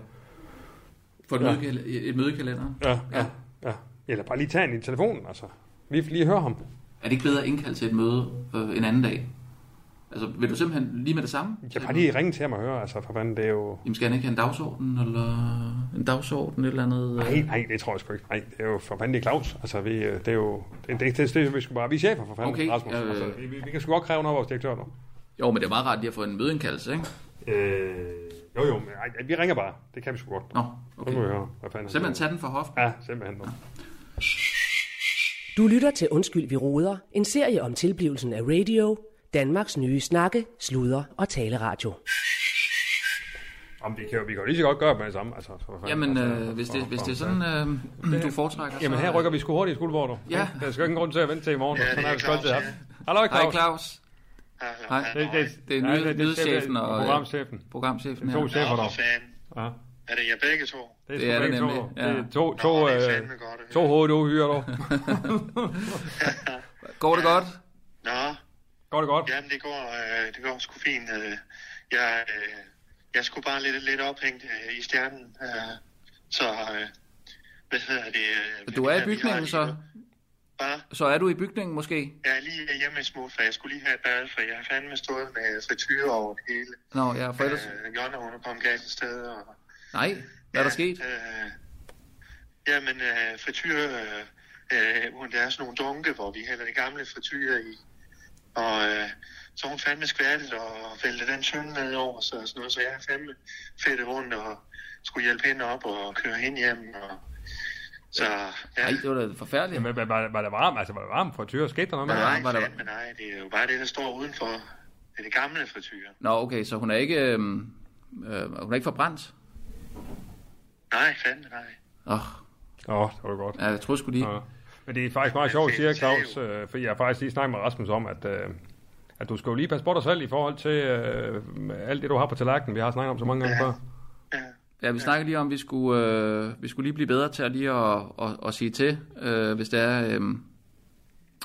for et,
Ja.
ja. mødekal- et mødekalender.
ja, ja, ja. Eller bare lige tage hende i telefonen, altså. Lige, lige høre ham.
Er det ikke bedre at indkalde til et møde øh, en anden dag? Altså, vil du simpelthen lige med det samme?
Jeg bare lige ringe til ham og høre, altså, for fanden, det er jo...
Jamen, skal han ikke have en dagsorden, eller en dagsorden, et eller andet? øh?
Nej, nej, det tror jeg sgu ikke. Nej, det er jo for fanden, det er Claus. Altså, vi, øh, det er jo... Det, det, det, det, vi skal bare... Vi er chefer for fanden,
Okay,
Rasmus.
øh.
Altså, vi, vi, vi, kan sgu godt kræve noget af vores direktør nu.
Jo, men det er meget rart lige at få en mødeindkaldelse, ikke?
Øh, jo, jo, men ej, vi ringer bare. Det kan vi sgu godt.
Nå,
Så må vi
okay.
høre, hvad fanden han
Simpelthen
siger.
tage den for hoften.
Ja, simpelthen. Nu.
Du lytter til Undskyld, vi roder, en serie om tilblivelsen af radio, Danmarks nye snakke, sludre og taleradio.
Jamen, det kan jo, vi kan jo lige så godt gøre det med det samme. Altså, for fanden,
Jamen,
altså,
øh, hvis, det,
for-
hvis
for-
det er sådan, øh, du foretrækker,
Jamen, her rykker vi sgu hurtigt i skuldvorter.
Ja.
Ikke? Der er sgu ingen grund til at vente til i morgen.
Ja, det er
sådan er vi sgu
Claus,
altid
ja.
haft. Hallo,
Hej,
Claus.
Claus. Hej. Det er
ja,
nyhed-
det- det-
nyhedschefen og-
Programchefen.
Programchefen
Det er to
her.
chefer,
Nå,
dog.
for fanden.
Ja.
Er det jer begge to?
Det er,
Det er
sgu
det
begge to,
nemlig,
dog.
ja.
Det er to,
Nå,
to,
det er
øh,
fandme godt at
to
høre.
hovedet uhyre, dog.
Går det godt?
Nå,
Går det godt?
jamen det går, øh, det går sgu fint. Øh, jeg, øh, jeg skulle bare lidt, lidt ophængt øh, i stjernen. Øh, så, øh, hvad hedder det? øh, men
Du
det
er i
her, vi har
bygningen,
lige
så,
nu. Hvad?
så er du i bygningen måske?
Jeg er lige hjemme en smule, for jeg skulle lige have et bad, for jeg har fandme stået med frityre over det hele.
Nå, ja, for ellers...
Øh, Jonna, hun er kommet galt af sted. Og,
Nej, hvad er der sket?
Øh, jamen, øh, frityre, øh, øh, hun, der er sådan nogle dunke, hvor vi hælder det gamle frityre i. Og øh, så hun fandme skvattet og vælte den søn ned over sig og sådan noget, så jeg er fandme fedt rundt og skulle hjælpe hende op og køre hende hjem. Og, så, ja.
Nej, det var da forfærdeligt.
Jamen, var, var, var det varmt? Altså, var det varmt for tyre? Skete der noget med det?
Nej,
Nej,
var der-
fandme nej, det er jo bare det, der står udenfor. Det er det gamle frityre.
Nå, okay, så hun er ikke, øh, øh, hun er ikke forbrændt?
Nej, fandme nej.
Åh,
Åh, oh, det var godt.
ja, jeg tror sgu lige.
Ja. Men det er faktisk meget sjovt,
det
siger
siger
Claus, øh, for jeg har faktisk lige snakket med Rasmus om, at, øh, at du skal jo lige passe på dig selv i forhold til øh, alt det, du har på tallerkenen, vi har snakket om så mange gange før.
Ja.
Ja, vi snakkede lige om, at vi skulle, øh, vi skulle lige blive bedre til at lige at, at, at sige til, øh, hvis det er, øh,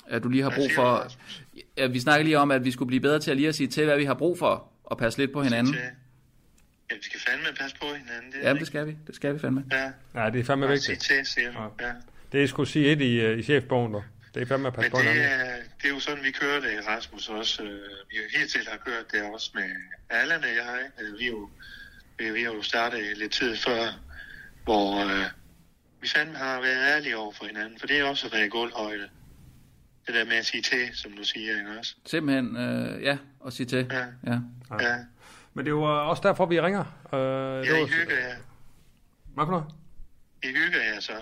at du lige har
Hvad
brug
siger du,
for...
Rasmus?
Ja, vi snakkede lige om, at vi skulle blive bedre til at lige at sige til, hvad vi har brug for, og passe lidt på hinanden.
Til- Ja, vi skal fandme passe på hinanden. Det er
Ja, det
vigtigt.
skal vi. Det skal vi fandme.
Ja,
Ja, det er fandme
og sige
vigtigt.
til, siger du. Ja.
Det er sgu sige et i, øh, i chefbogen, der. Det er fandme at passe
Men
på
det
hinanden.
er, det er jo sådan, vi kører det, Rasmus, også. øh, Vi har helt til har kørt det også med Allan og jeg. ikke? Øh, Vi, er jo, vi, vi har jo startet lidt tid før, hvor øh, vi fandme har været ærlige over for hinanden, for det er også at være i gulvhøjde. Det der med at sige til, som du siger, ikke også?
Simpelthen, øh, ja, at sige til.
Ja.
Ja.
Ja,
Men det er jo også derfor, vi ringer. Øh, det
ja I
var,
hygger jer.
hvad for noget?
I hygger jer så.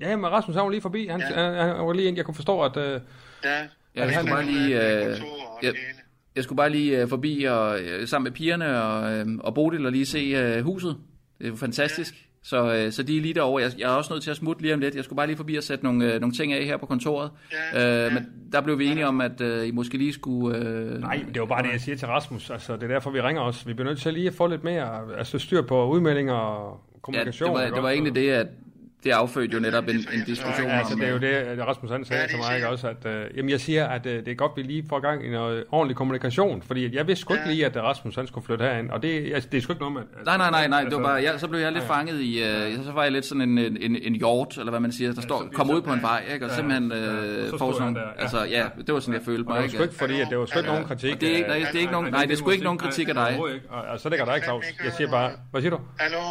Ja, men Rasmus han var lige forbi. Han,
Ja.
han, han var lige ind. Jeg kunne forstå, at... Øh,
Ja,
Ja, vi
Og
skulle
han-
bare lige,
han-
øh,
kontor og
ja.
det hele.
Jeg skulle bare lige øh, forbi og, øh, sammen med pigerne og, øh, og Bodil og lige se øh, huset. Det er jo fantastisk. Så, øh, så de er lige derovre. Jeg, jeg er også nødt til at smutte lige om lidt. Jeg skulle bare lige forbi og sætte nogle, øh, nogle ting af her på kontoret.
Ja,
øh,
ja.
Men der blev vi enige om, at øh, I måske lige skulle... Øh,
Nej, det var bare det, jeg siger til Rasmus. Altså, det er derfor, vi ringer os. Vi bliver nødt til lige at få lidt mere altså, styr på udmeldinger og
ja, det,
kommunikation.
var,
ikke
det var
også?
egentlig det, at det affødte jo netop en, en
Ja,
diskussion
altså,
om... øh,
det er jo det, at Rasmus han sagde
Ja, det
til mig
siger
ikke
jeg.
også, at øh, jamen, jeg siger, at øh, det er godt, vi lige får gang i noget ordentlig kommunikation, fordi at jeg vidste sgu ikke
Ja.
lige, at øh, Rasmus han skulle flytte herind, og det, altså, det er sgu ikke noget med... Altså,
Nej, nej, nej, nej. Det var bare, ja, så blev jeg lidt fanget i, øh, så var jeg lidt sådan en, en, en, en hjort, eller hvad man siger, der står, kommer ud på en vej, ikke? og simpelthen
ja, så
øh,
stod
får sådan
han der,
nogle,
ja.
altså ja, det var sådan, jeg følte
Og det
mig,
var sgu
ikke?
ikke, fordi at det var sgu ikke nogen kritik.
Og det er ikke,
af-
nej, det er ikke nogen,
af
nej, det er
den
sgu ikke nogen
musik.
kritik af
Nej,
dig.
overhovedet ikke. Og, og så ligger der ikke, Claus. Jeg siger bare, hvad siger du?
Hallo?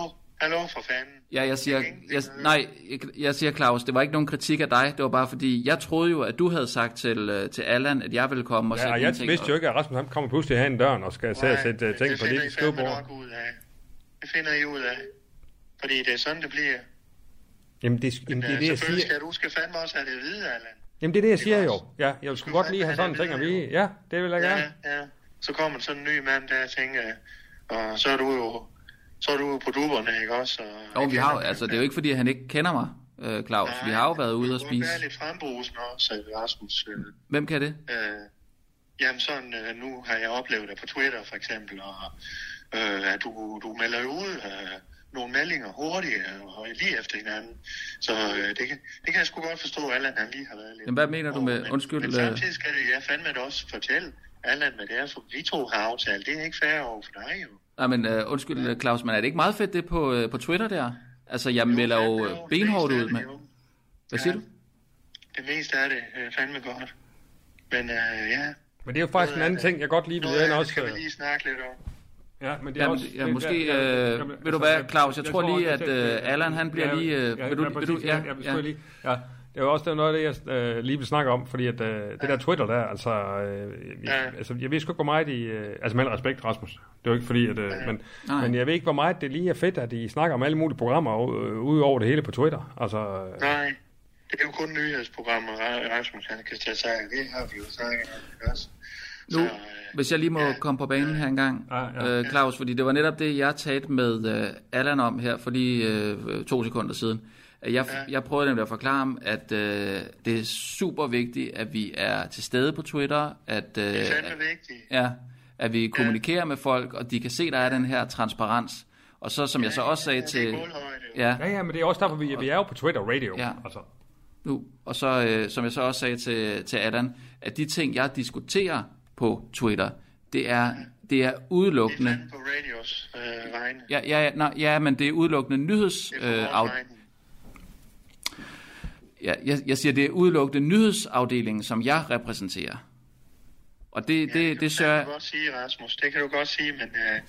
Hallo for fanden.
Ja, jeg siger,
Jeg kan ikke
jeg,
finde ud af
nej, jeg, jeg siger Claus, det var ikke nogen kritik af dig, det var bare fordi, jeg troede jo, at du havde sagt til, øh, til Allan, at jeg ville komme og
Ja,
sætte
og
mine
jeg
ting
vidste jo
op.
ikke, at Rasmus han kommer pludselig herhen i døren og skal sætte
Nej,
sætte øh, ting
det
på
finder
dit
I fandme
skrivebord.
nok ud af. Det finder I ud af. Fordi det er sådan, det bliver.
Jamen det, jamen, det er
Øh,
det, jeg
selvfølgelig
siger.
skal du skal fandme også have det at vide, Allan.
Jamen det er det, jeg siger
også-
jo. Ja, jeg skulle godt lige have sådan en ting at vide. Ja, det vil jeg gerne.
ja. Så kommer sådan en ny mand der og tænker, og så er du jo, så er du jo på duberne, ikke også? Og,
Jo, vi har, jo- altså, det er jo ikke fordi, han ikke kender mig, øh, Claus. Vi har jo været ude og
Du
spise.
er lidt frembrusende også, Rasmus. Øh,
Hvem kan det?
Øh, jamen sådan, øh, nu har jeg oplevet det på Twitter for eksempel, og øh, at du, du melder jo ud øh, nogle meldinger hurtigt øh, og lige efter hinanden. Så øh, det, kan, det kan jeg sgu godt forstå, Allan han lige har været lidt...
Jamen, hvad mener du
over,
med-
men,
undskyld,
Men
øh-
samtidig skal det, jeg fandme da også fortælle Allan, hvad det er, for vi to har aftalt. Det er ikke fair over for dig jo.
Nej, men øh, undskyld, øh, Claus, men er det ikke meget fedt det på, øh, på Twitter der? Altså, jeg melder jo
fandme,
øh, benhårdt
Det
ud,
meste af
men...
det, jo.
Hvad siger du?
Det meste er det øh, fandme godt. Men øh, ja,
Men det er jo faktisk en
Noget af
anden
det-
ting, jeg godt lige vil
noget
ind
af det
også.
skal vi
øh,
lige snakke lidt om.
Ja, men det er
Jamen,
også...
ja,
det-
måske,
ja, ja, ja,
øh,
jamen,
ved du hvad, Claus, jeg tror lige,
også,
at, øh, Allan, han bliver lige, øh,
ja,
vil du-
ja,
vil
præcis,
du- ja,
ja, ja,
ja.
ja. Lige, ja. Det er jo også det er noget af det, jeg øh, lige vil snakke om, fordi at, øh, det der Twitter der, altså, øh, jeg,
Ja.
altså, jeg ved sgu ikke, hvor meget I... Øh, altså med al respekt, Rasmus. Det er jo ikke fordi, at... Øh, men,
Nej.
men jeg ved ikke, hvor meget det lige er fedt, at I snakker om alle mulige programmer øh, ude over det hele på Twitter. Altså, øh,
Nej, det er jo kun nyhedsprogrammer, Ra- Rasmus han kan tage sig af. Det har vi jo snakket om ikke også.
Nu,
Så, øh,
hvis jeg lige må komme på banen her engang,
Ja, ja.
øh, Claus, fordi det var netop det, jeg talte med øh, Allan om her for lige øh, to sekunder siden. At Jeg, jeg prøvede nemlig at forklare ham, at øh, det er super vigtigt, at vi er til stede på Twitter, at, øh,
det er
at,
fandme vigtigt.
ja, at vi kommunikerer med folk, og de kan se, der er den her transparens. Og så, som jeg så også sagde
Ja, det er
til...
målhøjde, jo.
Ja,
ja, ja, men det er også derfor, vi, vi er jo på Twitter Radio.
Ja.
Altså.
nu. Og så, øh, som jeg så også sagde til, til Allan, at de ting, jeg diskuterer på Twitter, det er, det er
Det er
udelukkende...
fandme på radios øh, vegne.
Ja, ja, ja, nej, ja men det er udelukkende nyheds...
Det er på
Øh,
vores
af,
vegne.
ja, jeg, jeg siger, det er udelukkende nyhedsafdelingen, som jeg repræsenterer. Og det,
Ja,
det, det
Det
sørger...
kan du godt sige, Rasmus. Det kan du godt sige, men øh,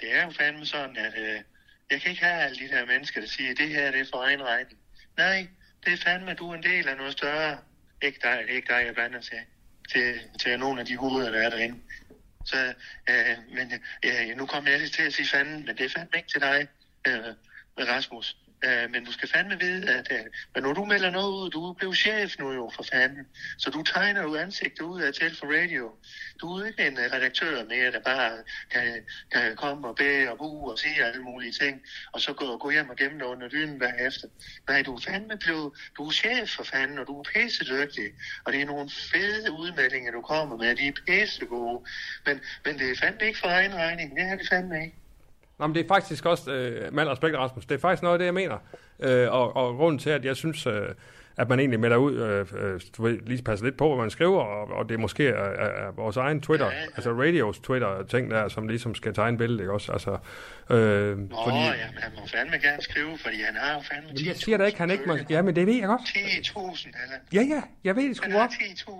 det er jo fandme sådan, at øh, jeg kan ikke have alle de der mennesker, der siger, det her det er for egen regning. Nej, det er fandme, at du er en del af noget større. Ikke dig, ikke dig jeg blander til, til, til nogle af de hoveder, der er derinde. Så, øh, men øh, nu kommer jeg lige til at sige fanden, men det er fandme ikke til dig, øh, Rasmus. Øh, men du skal fandme vide, at øh, men når du melder noget ud, du blev chef nu jo, for fanden. Så du tegner jo ansigtet ud af til for radio. Du er ikke en øh, redaktør mere, der bare kan, kan komme og bede og bu og sige alle mulige ting, og så gå, gå hjem og gemme dig under dynen bagefter. Nej, du er fandme blevet, du er chef for fanden, og du er pissedygtig, og det er nogle fede udmeldinger, du kommer med, de er pissegode, men, men det er fandme ikke for egen regning, det er det fandme ikke.
Nå, men det er faktisk også, øh, med al respekt, Rasmus, det er faktisk noget af det, jeg mener. Øh, og, og grunden til, at jeg synes, øh, at man egentlig melder ud, øh, øh, du ved, lige passe lidt på, hvad man skriver, og, og det er måske er, er, er vores egen Twitter, ja,
Ja, ja.
altså radios Twitter-ting der, som ligesom skal tegne billedet, ikke også? Altså, øh,
Nå, Fordi... jamen, han må fandme gerne skrive, fordi han har jo fandme
Jamen,
10.000
jeg siger da ikke, han ikke må...
følgere.
Ja, men det er det, jeg godt.
10.000, eller?
Ja, ja, jeg ved det sgu
Han har
godt.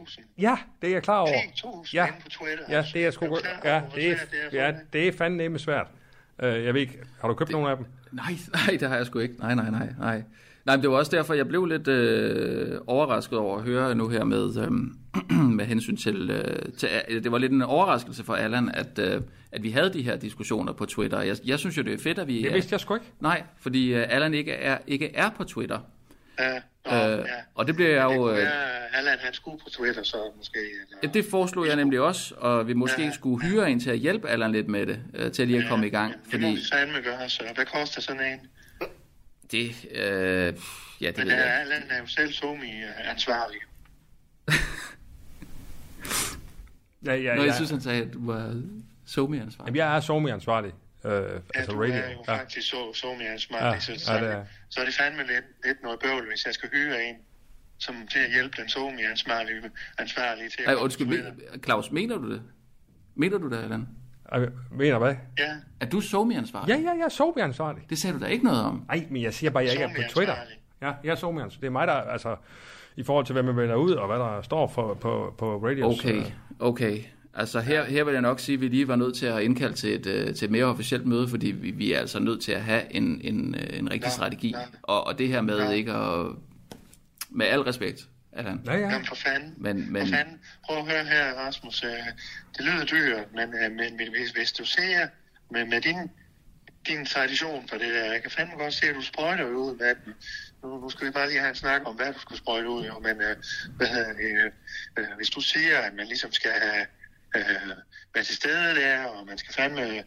10.000.
Ja, det er jeg klar over.
10.000
Ja,
inde på Twitter.
ja det er jeg sgu
Er du
godt.
klar over,
Ja,
hvor
det er,
svært det er for
ja,
dig?
det er fandme nemme svært. Øh, jeg ved ikke, har du købt nogle af dem?
Nej, nej, det har jeg sgu ikke. Nej, nej, nej, nej. Nej, men det var også derfor, jeg blev lidt øh, overrasket over at høre nu her med, øh, med hensyn til, øh, til... øh, Det var lidt en overraskelse for Allan, at, øh, at vi havde de her diskussioner på Twitter. Jeg, jeg synes jo, det er fedt, at vi...
Det vidste jeg sgu ikke.
Nej, fordi øh, Allan ikke er, ikke er på Twitter.
Ja, nå,
Øh,
ja.
og det bliver jeg
Det
jo...
kunne
Øh,
være, Allan han skulle på Twitter, så måske... Eller...
Ja, det foreslog jeg nemlig også, og vi måske ja. skulle hyre en til at hjælpe Allan lidt med det, øh, til lige at komme i gang.
Jamen, Det må
Fordi
vi fandme gøre, så hvad koster sådan en?
det, øh, ja, det
Men
ved
ja,
jeg.
Allan er jo selv somi-ansvarlig.
Ja, ja,
Nå, jeg
ja.
synes, han sagde, at du var somi-ansvarlig.
Jamen, jeg er somi-ansvarlig. Øh,
Ja,
altså
du
radio.
er jo
Ja.
faktisk so- somi-ansvarlig,
Ja,
så,
ja,
så,
det er.
så er det fandme lidt, lidt noget bøvl, hvis jeg skal hyre en som til at hjælpe den somi-ansvarlige ansvarlige til at
Ej,
komme på
undskyld,
Twitter.
men, Claus, mener du det? Mener du det, Allan?
Jeg mener hvad?
Ja,
Er du somi-ansvarlig?
Ja, ja, jeg er somi-ansvarlig.
Det sagde du da ikke noget om.
Nej, men jeg siger bare, at jeg ikke er på Twitter.
Somi-ansvarlig.
Ja, jeg er somi-ansvarlig. Det er mig, der, altså, i forhold til, hvad man melder ud, og hvad der står for, på, på radio.
Okay, okay. Altså her, her vil jeg nok sige, at vi lige var nødt til at indkalde til et, øh, til et mere officielt møde, fordi vi, vi er altså nødt til at have en, en, øh, en rigtig
Ja,
strategi.
ja.
Og, og det her med
Ja.
ikke at... Med al respekt, Allan.
Ja, ja.
Jamen for fanden.
Men, men
Men... For fanden, prøv at høre her, Rasmus. øh, Det lyder dyrt, men, øh, men, men hvis, hvis du ser med, med din, din tradition for det der, jeg kan fandme godt se, at du sprøjter jo ud med den. Nu, nu skal vi bare lige have en snak om, hvad du skal sprøjte ud, jo, men øh, hvad, hedder det, øh, øh, hvis du siger, at man ligesom skal have, øh, være til stede der, og man skal fandme øh,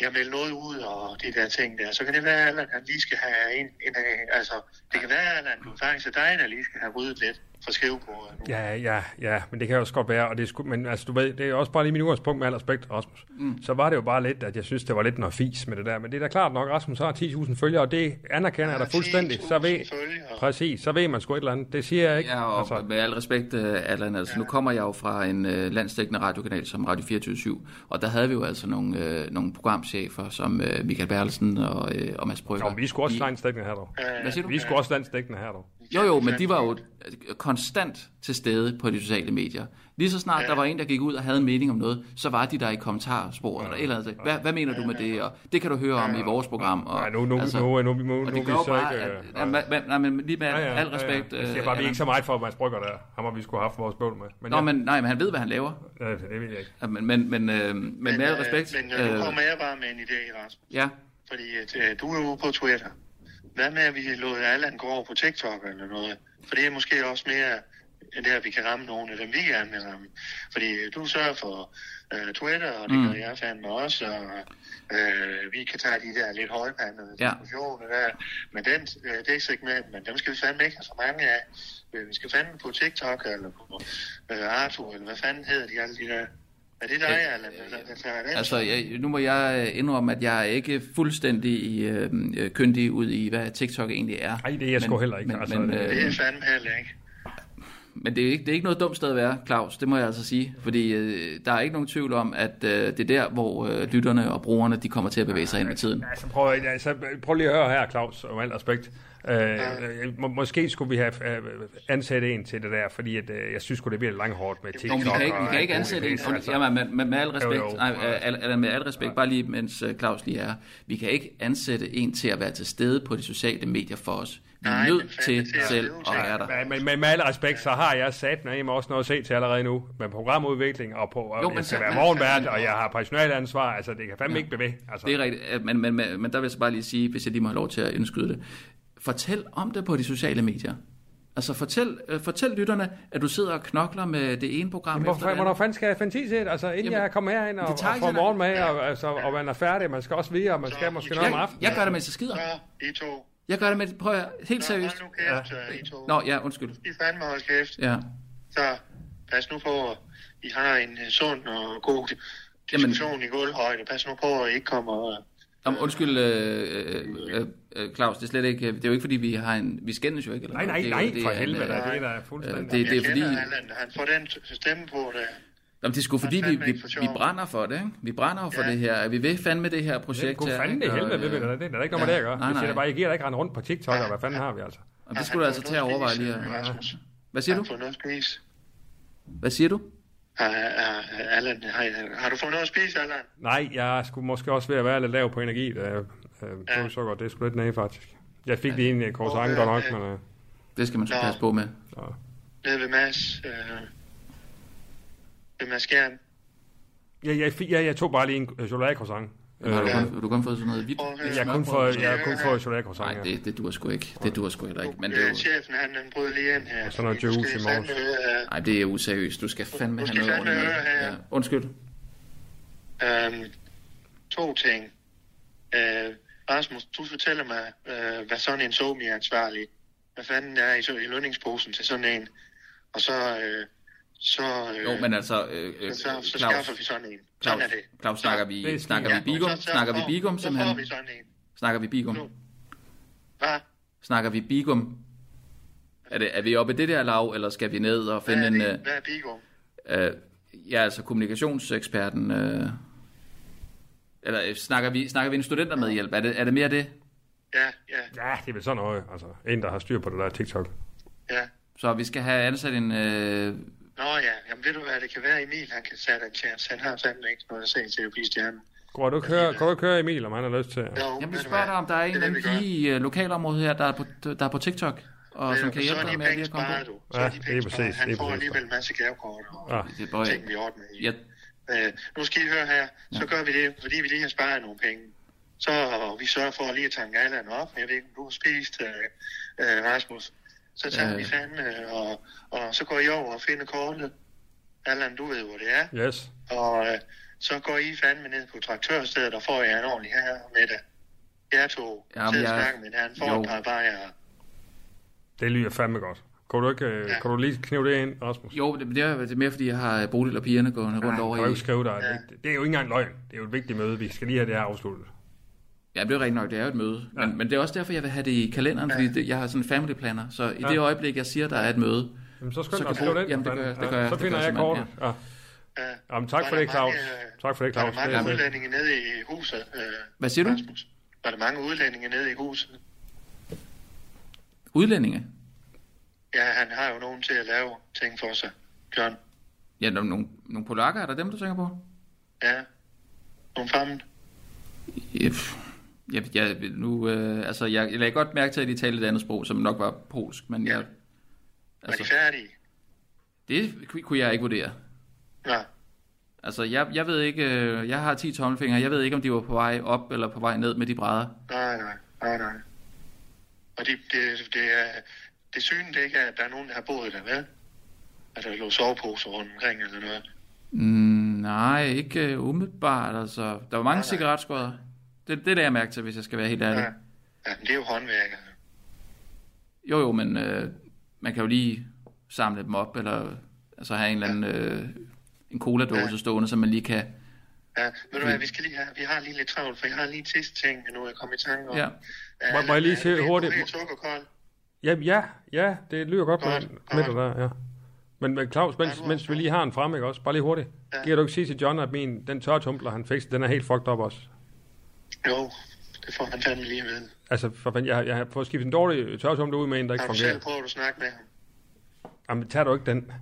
jeg melde noget ud og de der ting der, så kan det være, at Allan, han lige skal have en, en af- altså, det kan være, Allan, du faktisk er dig, der lige skal have ryddet lidt fra skrivebordet. nu.
Ja, ja, ja, men det kan også godt være, og det er sku, men altså, du ved, det er også bare lige min udgangspunkt med al respekt, Rasmus. Mm. Så var det jo bare lidt, at jeg synes, det var lidt noget fis med det der, men det er da klart nok, Rasmus har 10.000 følgere, og det anerkender jeg da fuldstændig. Så ved,
10.000 følgere.
præcis, så ved man sgu et eller andet, det siger jeg ikke.
Ja, og altså.
altså,
med al respekt, øh, Allan, altså ja. nu kommer jeg jo fra en øh, landsdækkende radiokanal som Radio 24 og der havde vi jo altså nogle, øh, nogle programchefer som øh, Michael Bertelsen og, øh, og Mads Brygger.
Nå, vi er sgu også
I-
landsdækkende her, dog.
Øh,
Hvad siger du?
Vi er sgu også landsdækkende her, dog.
Jo, jo, men de var jo øh, konstant til stede på de sociale medier. Lige så snart ja. der var en, der gik ud og havde en mening om noget, så var de der i kommentarsporet eller et eller andet. Hvad, hvad mener du med det? Og det kan du høre om i vores program. Og,
Nej, nu, nu, altså, nu, nu, nu, nu,
og
nu,
det
er vi
gør jo
så
bare,
ikke...
at,
øh,
at, at, at, nej, men lige med al respekt...
Ja, ja. Jeg siger bare,
øh,
vi er
Allan.
ikke så meget for, at Mads Brygger der. Ham har vi skulle have haft vores bøvl med. Men,
Nå,
ja,
men, nej, men han ved, hvad han laver.
ja, det ved jeg ikke.
Ja, Men, men, men, øh, men, men med al
øh,
respekt...
Men øh, nu kommer jeg bare med en idé, Rasmus.
ja,
Fordi at, øh, du er jo på Twitter. Hvad med, at vi lod Allan gå over på TikTok eller noget? For det er måske også mere der, vi kan ramme nogle af dem, vi gerne vil ramme. Fordi øh, du sørger for øh, Twitter, og det mm. gør jeg fandme også, og øh, vi kan tage de der lidt højpandede
Ja.
diskussioner der. Men den, øh, det er segment, men dem skal vi fandme ikke have så mange af. Øh, Vi skal fandme på TikTok eller på øh, Arthur, eller hvad fanden hedder de alle de der? Er det dig, Allan? eller- eller- eller-
Øh, altså jeg, nu må jeg øh, indrømme, at jeg er ikke fuldstændig i, øh, øh, kyndig ud i, hvad TikTok egentlig er.
Ej, det er jeg sgu heller ikke,
Men,
altså,
men,
det-
øh,
Det er fandme heller ikke.
Men det er, ikke, det er ikke noget dumt sted at være, Claus, det må jeg altså sige. Fordi øh, der er ikke nogen tvivl om, at øh, det er der, hvor øh, lytterne og brugerne de kommer til at bevæge sig ind med tiden.
Altså, prøv, at- altså, prøv lige at høre her, Claus, om alt respekt. Øh, må, måske skulle vi have øh, ansat en til det der, fordi at, øh, jeg synes sgu, det bliver langhårdt med TikTok.
Nå, men vi kan ikke, vi
og
kan
alt
ikke
muligt
ansætte en...
pis, altså.
Jamen, med, med, med al respekt,
Jo, jo.
nej, al, al, med al respekt bare lige, mens øh, Claus lige er her. Vi kan ikke ansætte en til at være til stede på de sociale medier for os. Vi er
Nej, men
nødt
fandme
til
til at
selv
leve
at
til.
være der.
Men, men, men med al respekt, så har jeg sat mig også noget at se til allerede nu. Med programudvikling, og på, og
Jo,
jo,
men
jeg skal
så-
være
men-
morgenvært, og jeg har personalansvar. Altså, det kan fandme ikke bevæge. Altså.
Det er rigtigt, øh, men, men, men, men der vil jeg så bare lige sige, hvis jeg lige må have lov til at indskyde det. Fortæl om det på de sociale medier. Altså fortæl, øh, fortæl lytterne, at du sidder og knokler med det ene program
Hvorfor,
efter det
fanden-
andet.
hvornår fanden skal jeg finde tid til det? Altså, inden
Jamen,
Jamen, jeg kommer herind og,
det
og
tager ikke
får
så lang-
morgen med, og, altså, og man er færdig, man skal også videre, og man skal måske noget om
Jeg,
aftenen.
jeg gør det, mens jeg skider.
Så, I to.
Jeg gør det med, prøv at, høre, helt
Nå, hold
seriøst.
nu kæft, ja. I to.
Nå, ja, undskyld.
I fandme hold kæft.
Ja.
Så pas nu på, at I har en øh, sund og god diskussion Jamen. i gulvhøjde. Pas nu på, at I ikke kommer... øh,
Om, undskyld, øh, øh, øh, Claus, det er slet ikke, det er jo ikke fordi, vi har en, vi skændes jo ikke. Eller
Nej,
noget.
nej,
Det er jo-
nej,
det
for
er en,
helvede,
øh,
da, det er da
øh,
fuldstændig.
det, det
Jeg
er fordi,
kender Allan, han får den t- stemme på det.
jamen, det er sgu fordi, vi,
er fandme
vi,
ikke for sjov.
vi brænder for det, ikke? Vi brænder jo for
Ja.
det her, at vi vil fandme det her projekt.
Det kunne
her,
fanden i
ikke? Og,
helvede, ved vi
øh,
da. Det er da ikke noget, med det, jeg gør.
Nej,
Jeg siger
nej.
da bare, jeg giver da ikke rende rundt på TikTok, og hvad fanden har vi altså?
Og det skulle du altså til at overveje lige. at-
Rasmus,
Hvad siger
har
du?
du fået noget at spise?
Hvad siger du?
Har, har, har- Allan, har, har du fået noget at spise, Allan?
Nej, jeg skulle måske også ved at være lidt lav på energi. Da, jeg, øh, ja. så godt, det er sgu lidt nede, faktisk. Jeg fik lige en øh, croissant
Hvor,
godt
øh,
nok, men... Øh,
Det skal man så
Nå.
passe på med.
Nede ved Mads... Øh, ved Mads Skjern.
jeg, jeg, fik- jeg, jeg tog bare lige en øh, chokoladecroissant. Øh,
Har du,
jeg
kun, har du kun fået sådan noget hvidt?
Prøv at høre.
har kun fået, jeg har kun fået chokoladecroissant,
Nej,
ja.
det, det duer sgu ikke. Det duer sgu heller ikke. Men det er
Øh,
jo,
chefen, han, han brød lige ind her.
sådan noget
fordi du
juice
skal
i morges.
fandme, øh,
nej, det er useriøst. Du skal fandme have
Du skal
noget
fandme
ordentligt.
høre her.
Ja. Undskyld.
Øhm, to ting. Øh, Rasmus, du fortæller mig, øh, hvad sådan en somi er ansvarlig. Hvad fanden er i, så, i lønningsposen til sådan en? Og så... Øh, så, øh,
Jo, men altså, øh, øh,
så, så
Claus,
skaffer vi sådan en. Sådan er
Claus,
det.
Claus, snakker
Det
vi,
er
snakker
fint.
vi bigum?
Så- så
Snakker vi
får-
bigum,
Så får vi
simpelthen?
sådan en.
Snakker vi bigum?
Nu. Hvad?
Snakker vi bigum? Er, det, er vi oppe i det der lav, eller skal vi ned og
Hvad
finde
er,
en...
det? Hvad er Bigum?
Øh, øh, ja, altså kommunikationseksperten... Øh, eller øh, snakker vi, snakker vi en studentermedhjælp? Er det, er det mere det?
Ja, ja,
Ja, det er vel sådan noget, altså. En, der har styr på det der TikTok.
ja.
Så vi skal have ansat en... Øh,
Nå ja, jamen ved du hvad, det kan være Emil, han kan sætte en chance. Han har fandme ikke noget at se til at blive stjernen.
Kunne du køre, kunne du køre Emil, om han har lyst til? Ja.
Jo,
Jamen,
ved
vi
du
spørger
hvad,
dig, om der er en
det
eller anden
vi gør.
pige i øh, lokalområdet her, der er på, der er på TikTok, og
Ved
som
du,
kan
så
hjælpe
er
dig
de
med lige
penge
at komme
sparet,
på.
du. Så er
Ja,
de
lige
penge sparet.
præcis,
Han
lige
får
præcis.
alligevel en masse gavekort
Ah,
og
Ja.
Det er bare,
ting, vi ordner i.
jeg,
Øh, nu skal I høre her, så gør vi det, fordi vi lige har sparet nogle penge. Så vi sørger for lige at tage galaen op. Jeg ved ikke, om du har spist, øh, øh, Rasmus. Så tager
Øh.
vi fandme, og, og så går I over og finder kortet. Allan, du ved, hvor det er.
Yes.
Og øh, så går I fandme ned på traktørstedet og får jer en ordentlig her med det. Jeg to
Jamen,
sidder
jeg-
og snakker med han får
jo.
et par bajer.
Det lyder fandme godt. Kunne du ikke, ja.
øh,
Ja.
kunne du lige knive det ind, Rasmus?
jo, det, det, er, det er mere, fordi jeg har øh, Bodil og pigerne gående rundt over
Kan du
i...
ikke skrive dig? Ja. Det er jo ikke engang løgn. Det er jo et vigtigt møde. Vi skal lige have det her afsluttet.
Ja, det er jo rigtigt nok, det er jo et møde. Ja. Men, men det er også derfor, jeg vil have det i kalenderen, fordi det, jeg har sådan en family planner. Så i ja. det øjeblik, jeg siger, der er et møde,
Jamen, så skynd
Så
dig at
kan
skrive
du-
det ind.
jamen, det gør-
fanden.
det gør
Ja,
jeg-
Så
det
finder
gør jeg
jeg kortet.
simpelthen,
Ja.
Ja.
Jamen, tak
Øh, Var
for
der
det, Claus.
mange, øh,
Tak for det,
Var
Claus.
der mange
Det er fedt.
udlændinge nede i huset? Øh,
Hvad siger du?
Rasmus? Var der mange udlændinge nede i huset?
udlændinge.
Ja, han har jo nogen til at lave ting for sig, John.
Ja, nogle, nogle, nogle polakker, er der dem, du tænker på?
Ja. Nogle fremmede.
Ja, pff. Ja, jeg, nu, øh, altså, jeg, jeg lagde godt mærke til, at de talte et andet sprog, som nok var polsk, men
Ja.
jeg,
Var de
altså,
færdige?
det ku- kunne jeg ikke vurdere.
Nå,
Altså, jeg, jeg ved ikke, øh, jeg har 10 tommelfingre, jeg ved ikke, om de var på vej op eller på vej ned med de brædder.
nej, nej, nej, nej. Og det, det, det, er, det synes det ikke, er, at der er nogen, der har boet der, vel? At der lå soveposer rundt omkring eller noget.
Mm, nej, ikke øh, umiddelbart, altså. Der var mange
nej.
cigaretskodder. Det, det er det, jeg mærke til, hvis jeg skal være helt ærlig.
Ja. ja men det er jo håndværkere.
Jo, jo, men øh, man kan jo lige samle dem op, eller altså have en eller anden øh, en cola-dåse
Ja.
stående, som man lige kan...
Ja, ved du hvad, vi skal lige have, vi har lige lidt travlt, for jeg har lige en sidste ting, nu jeg kom i tanke om.
Ja.
Ja,
Må- må jeg lige sige hurtigt-
Er du helt sukkerkold?
Jamen, ja, ja, det lyder godt med,
Godt,
med det der, ja. Men, men Claus, mens,
Ja, du-
mens vi lige har en frem, ikke også? Bare lige hurtigt. Ja.
Ja.
Giver du ikke sige til John, at min, den tørretumbler, han fik, den er helt fucked op også?
Jo, det får han fandme lige at vide.
Altså, for fanden, jeg, har- jeg har fået skiftet en dårlig tørretumbler ud med en, der ikke
Har du
fungerer.
selv prøvet at snakke med ham?
Jamen, tager du ikke den?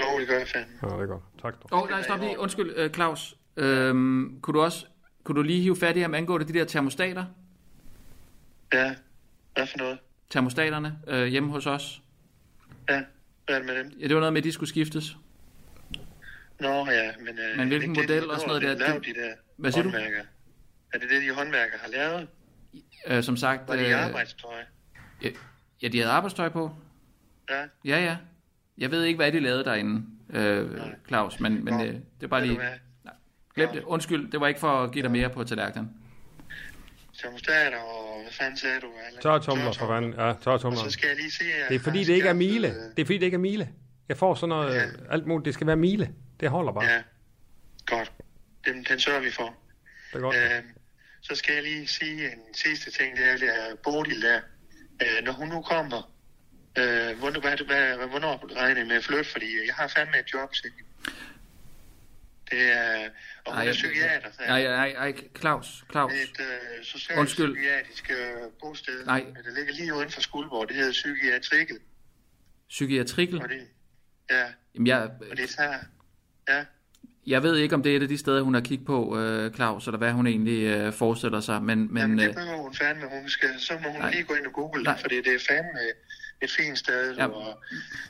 Jo, det gør jeg fandme.
Ja, det er godt. Tak, du.
Åh, oh, nej, stop lige. Undskyld, øh, Claus. Øhm, kunne du også kunne du lige hive fat i ham angående de der termostater?
Ja, hvad for noget?
Termostaterne øh, hjemme hos os?
Ja, hvad er det med dem?
Ja, det var noget med, at de skulle skiftes.
Nå ja, men... Øh,
Men hvilken
er det ikke det, de
model og sådan
laver,
noget der,
de laver,
det-
de der
Hvad siger du?
håndværkere? Er det det, de håndværkere har lavet?
Øh, som sagt...
Var det i arbejdstøj?
ja, ja, de havde arbejdstøj på.
Ja,
Ja, ja. Jeg ved ikke, hvad de lavede derinde, øh, Claus, men, men
Nå,
øh, det er bare
ved
lige...
du hvad?
Glem det. Undskyld, det var ikke for at give dig mere på tallerkenen.
Termostater og hvad fanden sagde du? Allan?
Tørretumbler, for fanden. Ja,
Og
tørretumbler.
så skal jeg lige se, at
Det er fordi,
jeg
det ikke er
har skaffet,
mile.
øh,
Det er fordi, det ikke er mile. Jeg får sådan noget,
Ja.
alt muligt. Det skal være mile. Det holder bare.
Ja, godt. Den, den sørger vi for.
Det er godt.
Øh, så skal jeg lige sige en sidste ting, det er, det er Bodil der. Øh, når hun nu kommer, øh, hvornår, hvad, hvad, hvornår regner jeg med at flytte? Fordi jeg har fandme et job til hende. Det er, og hun
Ej,
er psykiater. så
Nej, nej, nej, Claus, Claus.
Et øh,
Undskyld.
socialpsykiatrisk øh, bosted.
Nej.
Det ligger lige uden for Skuldborg. Det hedder Psykiatriket.
Psykiatrikel.
Og det, ja,
Jamen, jeg,
og det tager... Ja,
jeg ved ikke, om det er et af de steder, hun har kigget på, øh, Claus, eller hvad hun egentlig øh, forestiller sig, men,
men, jamen,
men øh,
det behøver hun fandme. Hun skal, så må hun
Nej.
lige gå ind og google
Nej.
det, fordi det er fandme et fint sted.
Ja.
Ja. Og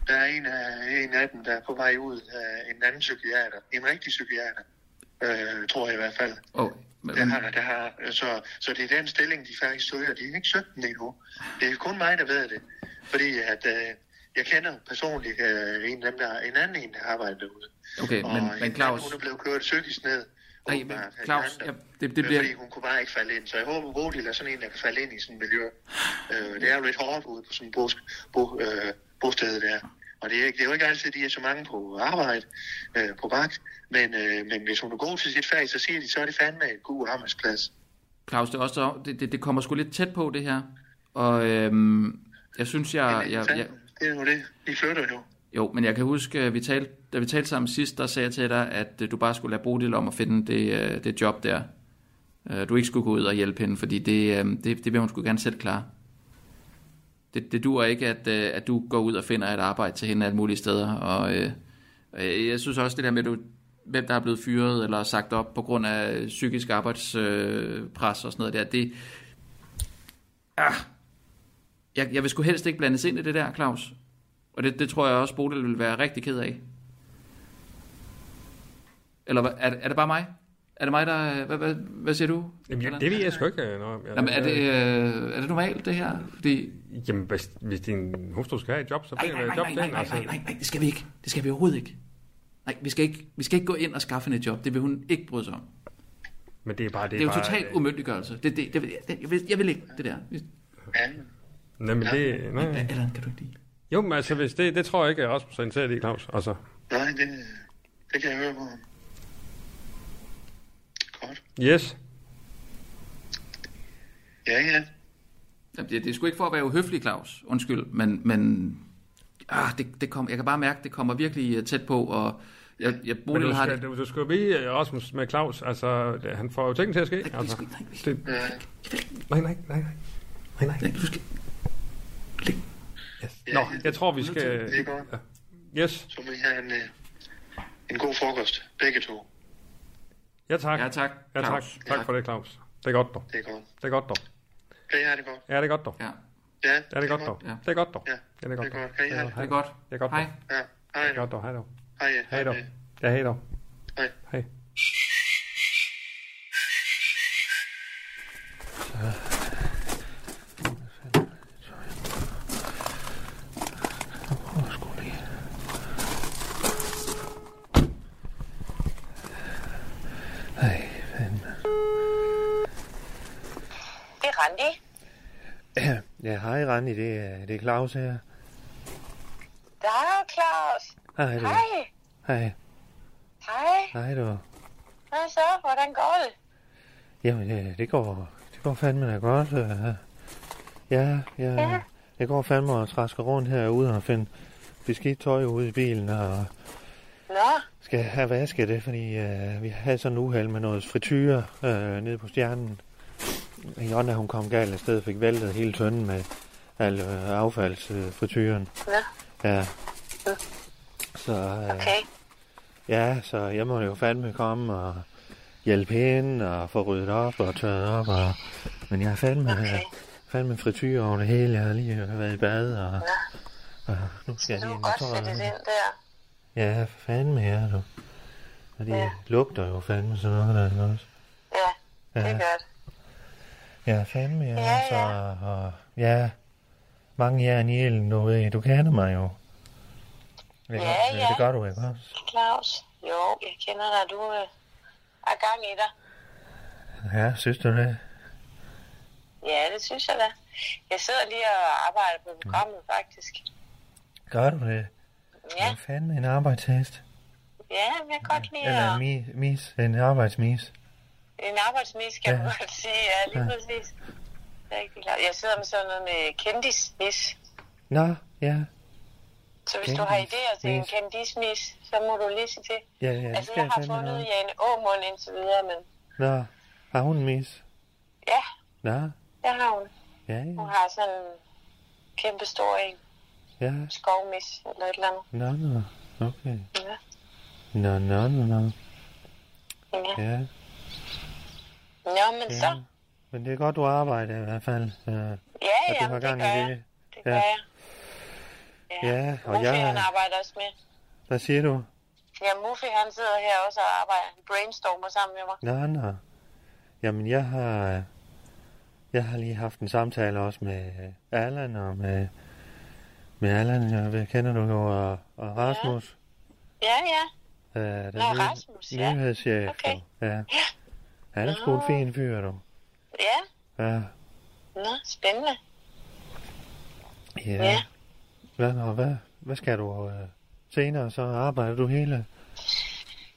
der er en af, en af dem, der er på vej ud af en anden psykiater. En rigtig psykiater, øh, tror jeg i hvert fald.
åh, men,
Der har, der har, så, så det er den stilling, de faktisk søger. De har ikke søgt den endnu. Det er kun mig, der ved det. Fordi at, øh, jeg kender personligt øh, en, af dem, der, en anden en, der arbejder derude.
okay,
Og
Øh, men, men
en
Claus,
anden, Hun er blevet kørt psykisk ned.
nej, men
åbenbart, af de
Claus,
andre.
ja, det, det
Det bliver...
bliver,
Fordi hun kunne bare ikke falde ind. Så jeg håber, Bodil er sådan en, der kan falde ind i sådan et miljø. Øh, det er jo lidt hårdt ude på sådan et bos, bo, øh, bosted der. Og det er, ikke- det er jo ikke altid, de er så mange på arbejde, øh, på vagt. Men, øh, men hvis hun er god til sit fag, så siger de, så er det fandme en god arbejdsplads.
Claus, det, er også, det, det, det kommer sgu lidt tæt på, det her, og øhm, jeg synes, jeg, jeg,
Men
jeg,
fandme, Det er jo det. Vi flytter jo.
jo, men jeg kan huske, øh, vi talte, da vi talte sammen sidst, der sagde jeg til dig, at øh, du bare skulle lade Bodil om at finde det, øh, det job der. Øh, Du ikke skulle gå ud og hjælpe hende, fordi det, øh, det, det vil hun skulle gerne selv klare. Det, det duer ikke, at, øh, at du går ud og finder et arbejde til hende alle mulige steder, og øh, Øh, Jeg synes også, det der med, du, hvem der er blevet fyret eller sagt op på grund af psykisk arbejdspres øh, pres og sådan noget der, det... Ah, jeg, jeg vil sgu helst ikke blandes ind i det der, Claus. Og det, det tror jeg også, Bodil vil være rigtig ked af. Eller hvad- er, er det bare mig? Er det mig, der... Hvad, hvad, hvad siger du?
Jamen,
Allan?
jeg, det ved jeg sgu ikke. øh, Når, jeg,
Jamen, er, det, øh, er det normalt, det her? Fordi...
Jamen, hvis, hvis din hustru skal have et job, så
Nej,
bliver
nej,
det
nej,
et job
nej,
til
nej,
hende.
nej,
Altså,
nej, nej, nej, det skal vi ikke. Det skal vi overhovedet ikke. Nej, vi skal ikke, vi skal ikke gå ind og skaffe hende et job. Det vil hun ikke bryde sig om. Det øh,
men det er bare... Det
er jo
bare,
total umyndiggørelse. Det, det, det, det, jeg, vil, jeg vil ikke det der.
Ja.
Nej, men det... Nej.
Allan, kan du ikke lide?
Jo, men altså, hvis det, det tror jeg ikke, at Rasmus er interesseret i, Claus. Altså,
Nej, det, det kan jeg høre på. ham. Godt.
yes.
Ja, ja.
Jamen, det, det er sgu ikke for at være uhøflig, Claus. Undskyld, men, men ah, det, det kom, jeg kan bare mærke, det kommer virkelig øh, tæt på, og jeg,
Men
jeg
du
Bodil har
skal,
det.
du, du skal jo blive øh, Rasmus med Claus. Altså, det- han får jo tingene til at ske.
Nej, vi
Altså,
skal ikke- nej, vi skal
det, nej,
Ja,
nej, nej, nej. Nej, nej.
ikke- du skal-
Yes. Nå, jeg tror, vi skal...
det er godt.
Yes.
Så må I have en, øh, en god frokost. Begge to.
Ja, tak.
Ja, tak,
Ja, tak.
Claus.
Tak for det, Claus. Det er godt, dog.
Det er godt.
Det er godt, dog.
Kan I have det godt?
Ja, det er godt, dog.
Ja,
Ja,
Ja, det er godt, dog.
Ja.
Det er godt, dog.
Ja,
det er godt,
det er
dog.
godt. Kan I have det?
det er godt.
Det er godt,
Hej.
dog.
Ja, hej.
Det er godt, dog. Hej, dog.
Hej, ja.
Hej, dog. Ja, hej, dog.
Hej.
Hej.
Det er Randi.
Ja, hej Randi, det er, det er Claus her.
Der er Claus.
Hej du.
Hej.
Hej.
Hej.
Hej du.
Hvad så? Hvordan går det?
Jamen, øh, det går, det går fandme da godt. øh. Ja, ja. Jeg går fandme og trasker rundt herude og finder beskidt tøj ude i bilen og
Nå,
skal have vasket det, fordi øh, vi havde sådan en uheld med noget frityre øh, nede på stjernen. Jonna, hun kom galt af sted, fik væltet hele tønden med al øh, affaldsfrityren.
Nå.
Ja. Så, øh,
okay.
Ja, så jeg må jo fandme komme og hjælpe hende og få ryddet op og tørret op. Og... Men jeg har fandme, okay. fandme frityr over det hele. Jeg har lige været i bad, og, og nu skal jeg
Du kan
øh, lige ind og
godt sætte det
tørre.
ind der.
Ja, for fandme her, du. Og det
Ja.
ja. lugter jo fandme sådan noget der, ikke også?
Ja, det
Ja,
gør det.
ja fandme her,
Ja,
ja, så... Og, ja, mange jern i ilden, du ved. Du kender mig jo. Ikke
Ja,
også?
ja.
Det gør du, ikke også?
Claus. Jo, jeg kender dig. Du øh, har gang i dig.
Ja, synes du det?
Ja, det synes jeg da. Jeg sidder lige og arbejder på programmet, faktisk.
Gør du det?
Ja,
Hvad fanden en arbejdshest?
ja men jeg kan godt lide
Eller en
at...
mi, mis, en arbejdsmis.
En arbejdsmis, kan
Ja.
man godt sige. Ja, lige præcis. Det er rigtig klart. Jeg sidder med sådan noget med kendismis.
Nå, ja.
Så hvis du har idéer til en
Kendismis.
kendismis, så må du lige sige til.
Ja, ja, det
Altså,
skal
jeg
jeg
har
fandme
fundet
have.
Jane Aumund indtil videre, men
Nå, har hun en mis?
ja,
Nå,
der har hun.
ja,
Hun
ja,
har sådan en kæmpe stor en
ja.
skovmis eller et eller andet.
Nå, nå, okay.
Ja.
Nå, nå, nå, nå.
Ja.
Ja,
Nå, men så.
ja. Men det er godt, du arbejder i hvert fald. Øh,
Ja,
at
ja,
du har
det
gang
gør
i
jeg.
det.
Det
Ja.
gør jeg.
Ja, og
Muffi, han
jeg...
arbejder også med.
Hvad siger du?
Ja, Muffi, han sidder her også og arbejder. Han brainstormer sammen med mig.
Nå, nå. Jamen, jeg har... Jeg har lige haft en samtale også med øh, Allan og med... Med Allan, jeg ved, kender du jo, og, og Rasmus.
Ja, ja.
Øh, den
Nå, Rasmus, ja.
Nyhedschef.
Okay.
Okay. Ja. Han er sgu en fin fyr, du.
Ja.
Ja.
Nå, spændende.
Ja.
Ja.
Hvad, nå, hvad, hvad skal du øh, senere? Så arbejder du hele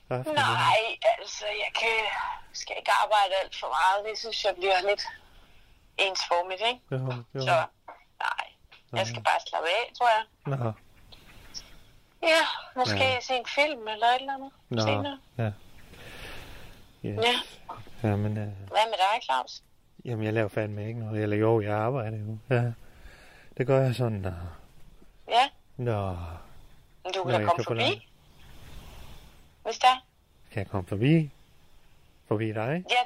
aftenen?
Nej, altså, jeg kan, skal ikke arbejde alt for meget. Det synes jeg bliver lidt ensformigt, ikke?
Jo, jo.
Så, nej. Jeg skal bare slappe af, tror jeg.
Nå,
Ja, måske
Ja.
ja. se en film eller et eller andet
nå.
senere.
Ja. Yes.
Ja.
Jamen, øh,
Hvad med dig, Claus?
jamen, jeg laver fandme ikke noget. Eller jo, jeg arbejder jo. Ja. Det gør jeg sådan, når...
Ja,
når
men du kan
når
da
jeg
komme
kan få
forbi.
lov.
Hvis der er.
Kan jeg komme forbi? Forbi dig?
Ja,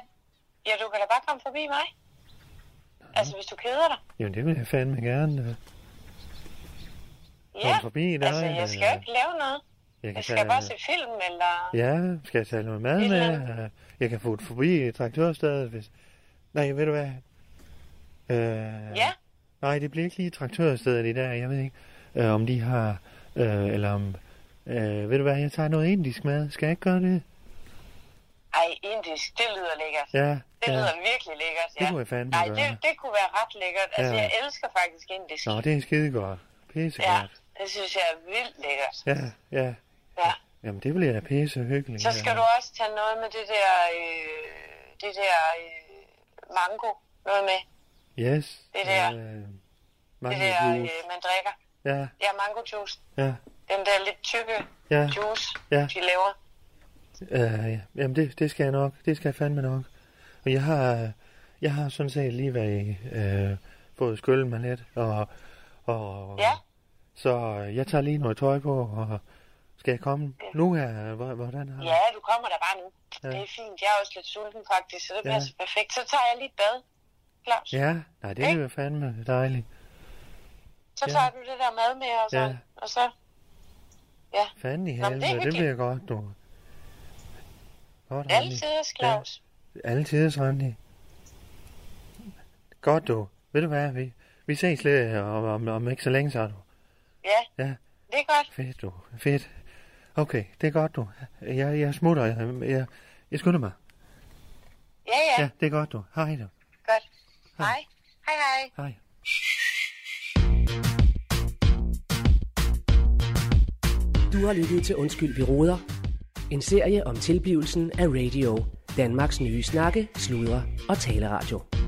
ja, du kan da bare komme forbi mig. Altså, hvis du keder dig.
Jamen, det vil jeg fandme gerne. øh.
Ja,
Komme forbi dig?
altså, jeg skal jo
eller-
ikke lave noget.
jeg kan
Jeg skal
tage-
bare se film, eller...
Ja, skal jeg tage noget mad
Et eller
med? Øh, Jeg kan få det forbi traktørstedet, hvis... Nej, ved du hvad? Øh,
Ja,
Nej, det bliver ikke lige traktørstedet i dag. Jeg ved ikke, øh, om de har... Øh, eller om... Øh, ved du hvad, jeg tager noget indisk mad. Skal jeg ikke gøre det?
ej, indisk, det lyder lækkert.
Ja,
Det
ja.
lyder virkelig lækkert, ja.
Det kunne jeg fandme
Nej, det,
gøre.
det kunne være ret lækkert. Altså,
Ja.
jeg elsker faktisk indisk.
Nå, det er skide godt. Pisse
ja,
godt.
det synes jeg er vildt lækkert.
Ja, ja.
Ja.
Jamen, det bliver da pisse hyggeligt.
Så skal
ja.
du også tage noget med det der, øh, det der øh, mango, noget med.
Yes.
Det der-
Øh,
Det
mange
der,
juice.
øh, man drikker.
Ja,
Ja, mango juice.
ja,
Den der lidt tykke
ja.
juice,
Ja.
de laver.
Øh, ja. Jamen, det, det skal jeg nok. Det skal jeg fandme nok. Og jeg har, jeg har sådan set lige været, øh, fået skyllet mig lidt, og, og
Ja,
så øh, jeg tager lige noget tøj på, og skal jeg komme nu her? Hvor- Hvordan har
ja, du kommer der bare nu.
Ja.
Det er fint. Jeg er også lidt sulten faktisk, så det
Ja.
bliver så perfekt. Så tager jeg lige et bad, Claus.
Ja, nej, det er jo fandme dejligt.
Så
Ja.
tager du det der mad med, og så...
Ja.
Og så
Fanden i
Nå, men det er
helvede, det
hyggeligt.
bliver godt nu. Godt, Randi.
altid, Claus.
Alle tiders, Randi. Godt, du. Ved du hvad, vi, vi ses lidt om, om, om ikke så længe, så du.
Ja.
Ja.
det er godt.
Fedt, du. Fedt. Okay, det er godt, du. Jeg, jeg smutter. Jeg, jeg, jeg skynder mig.
Ja, ja,
Ja, det er godt, du. Hej, du.
godt. Hej. Hej, hej.
Hej.
Du har lyttet til Undskyld, vi råder. En serie om tilblivelsen af radio. Danmarks nye snakke, sludre og taleradio.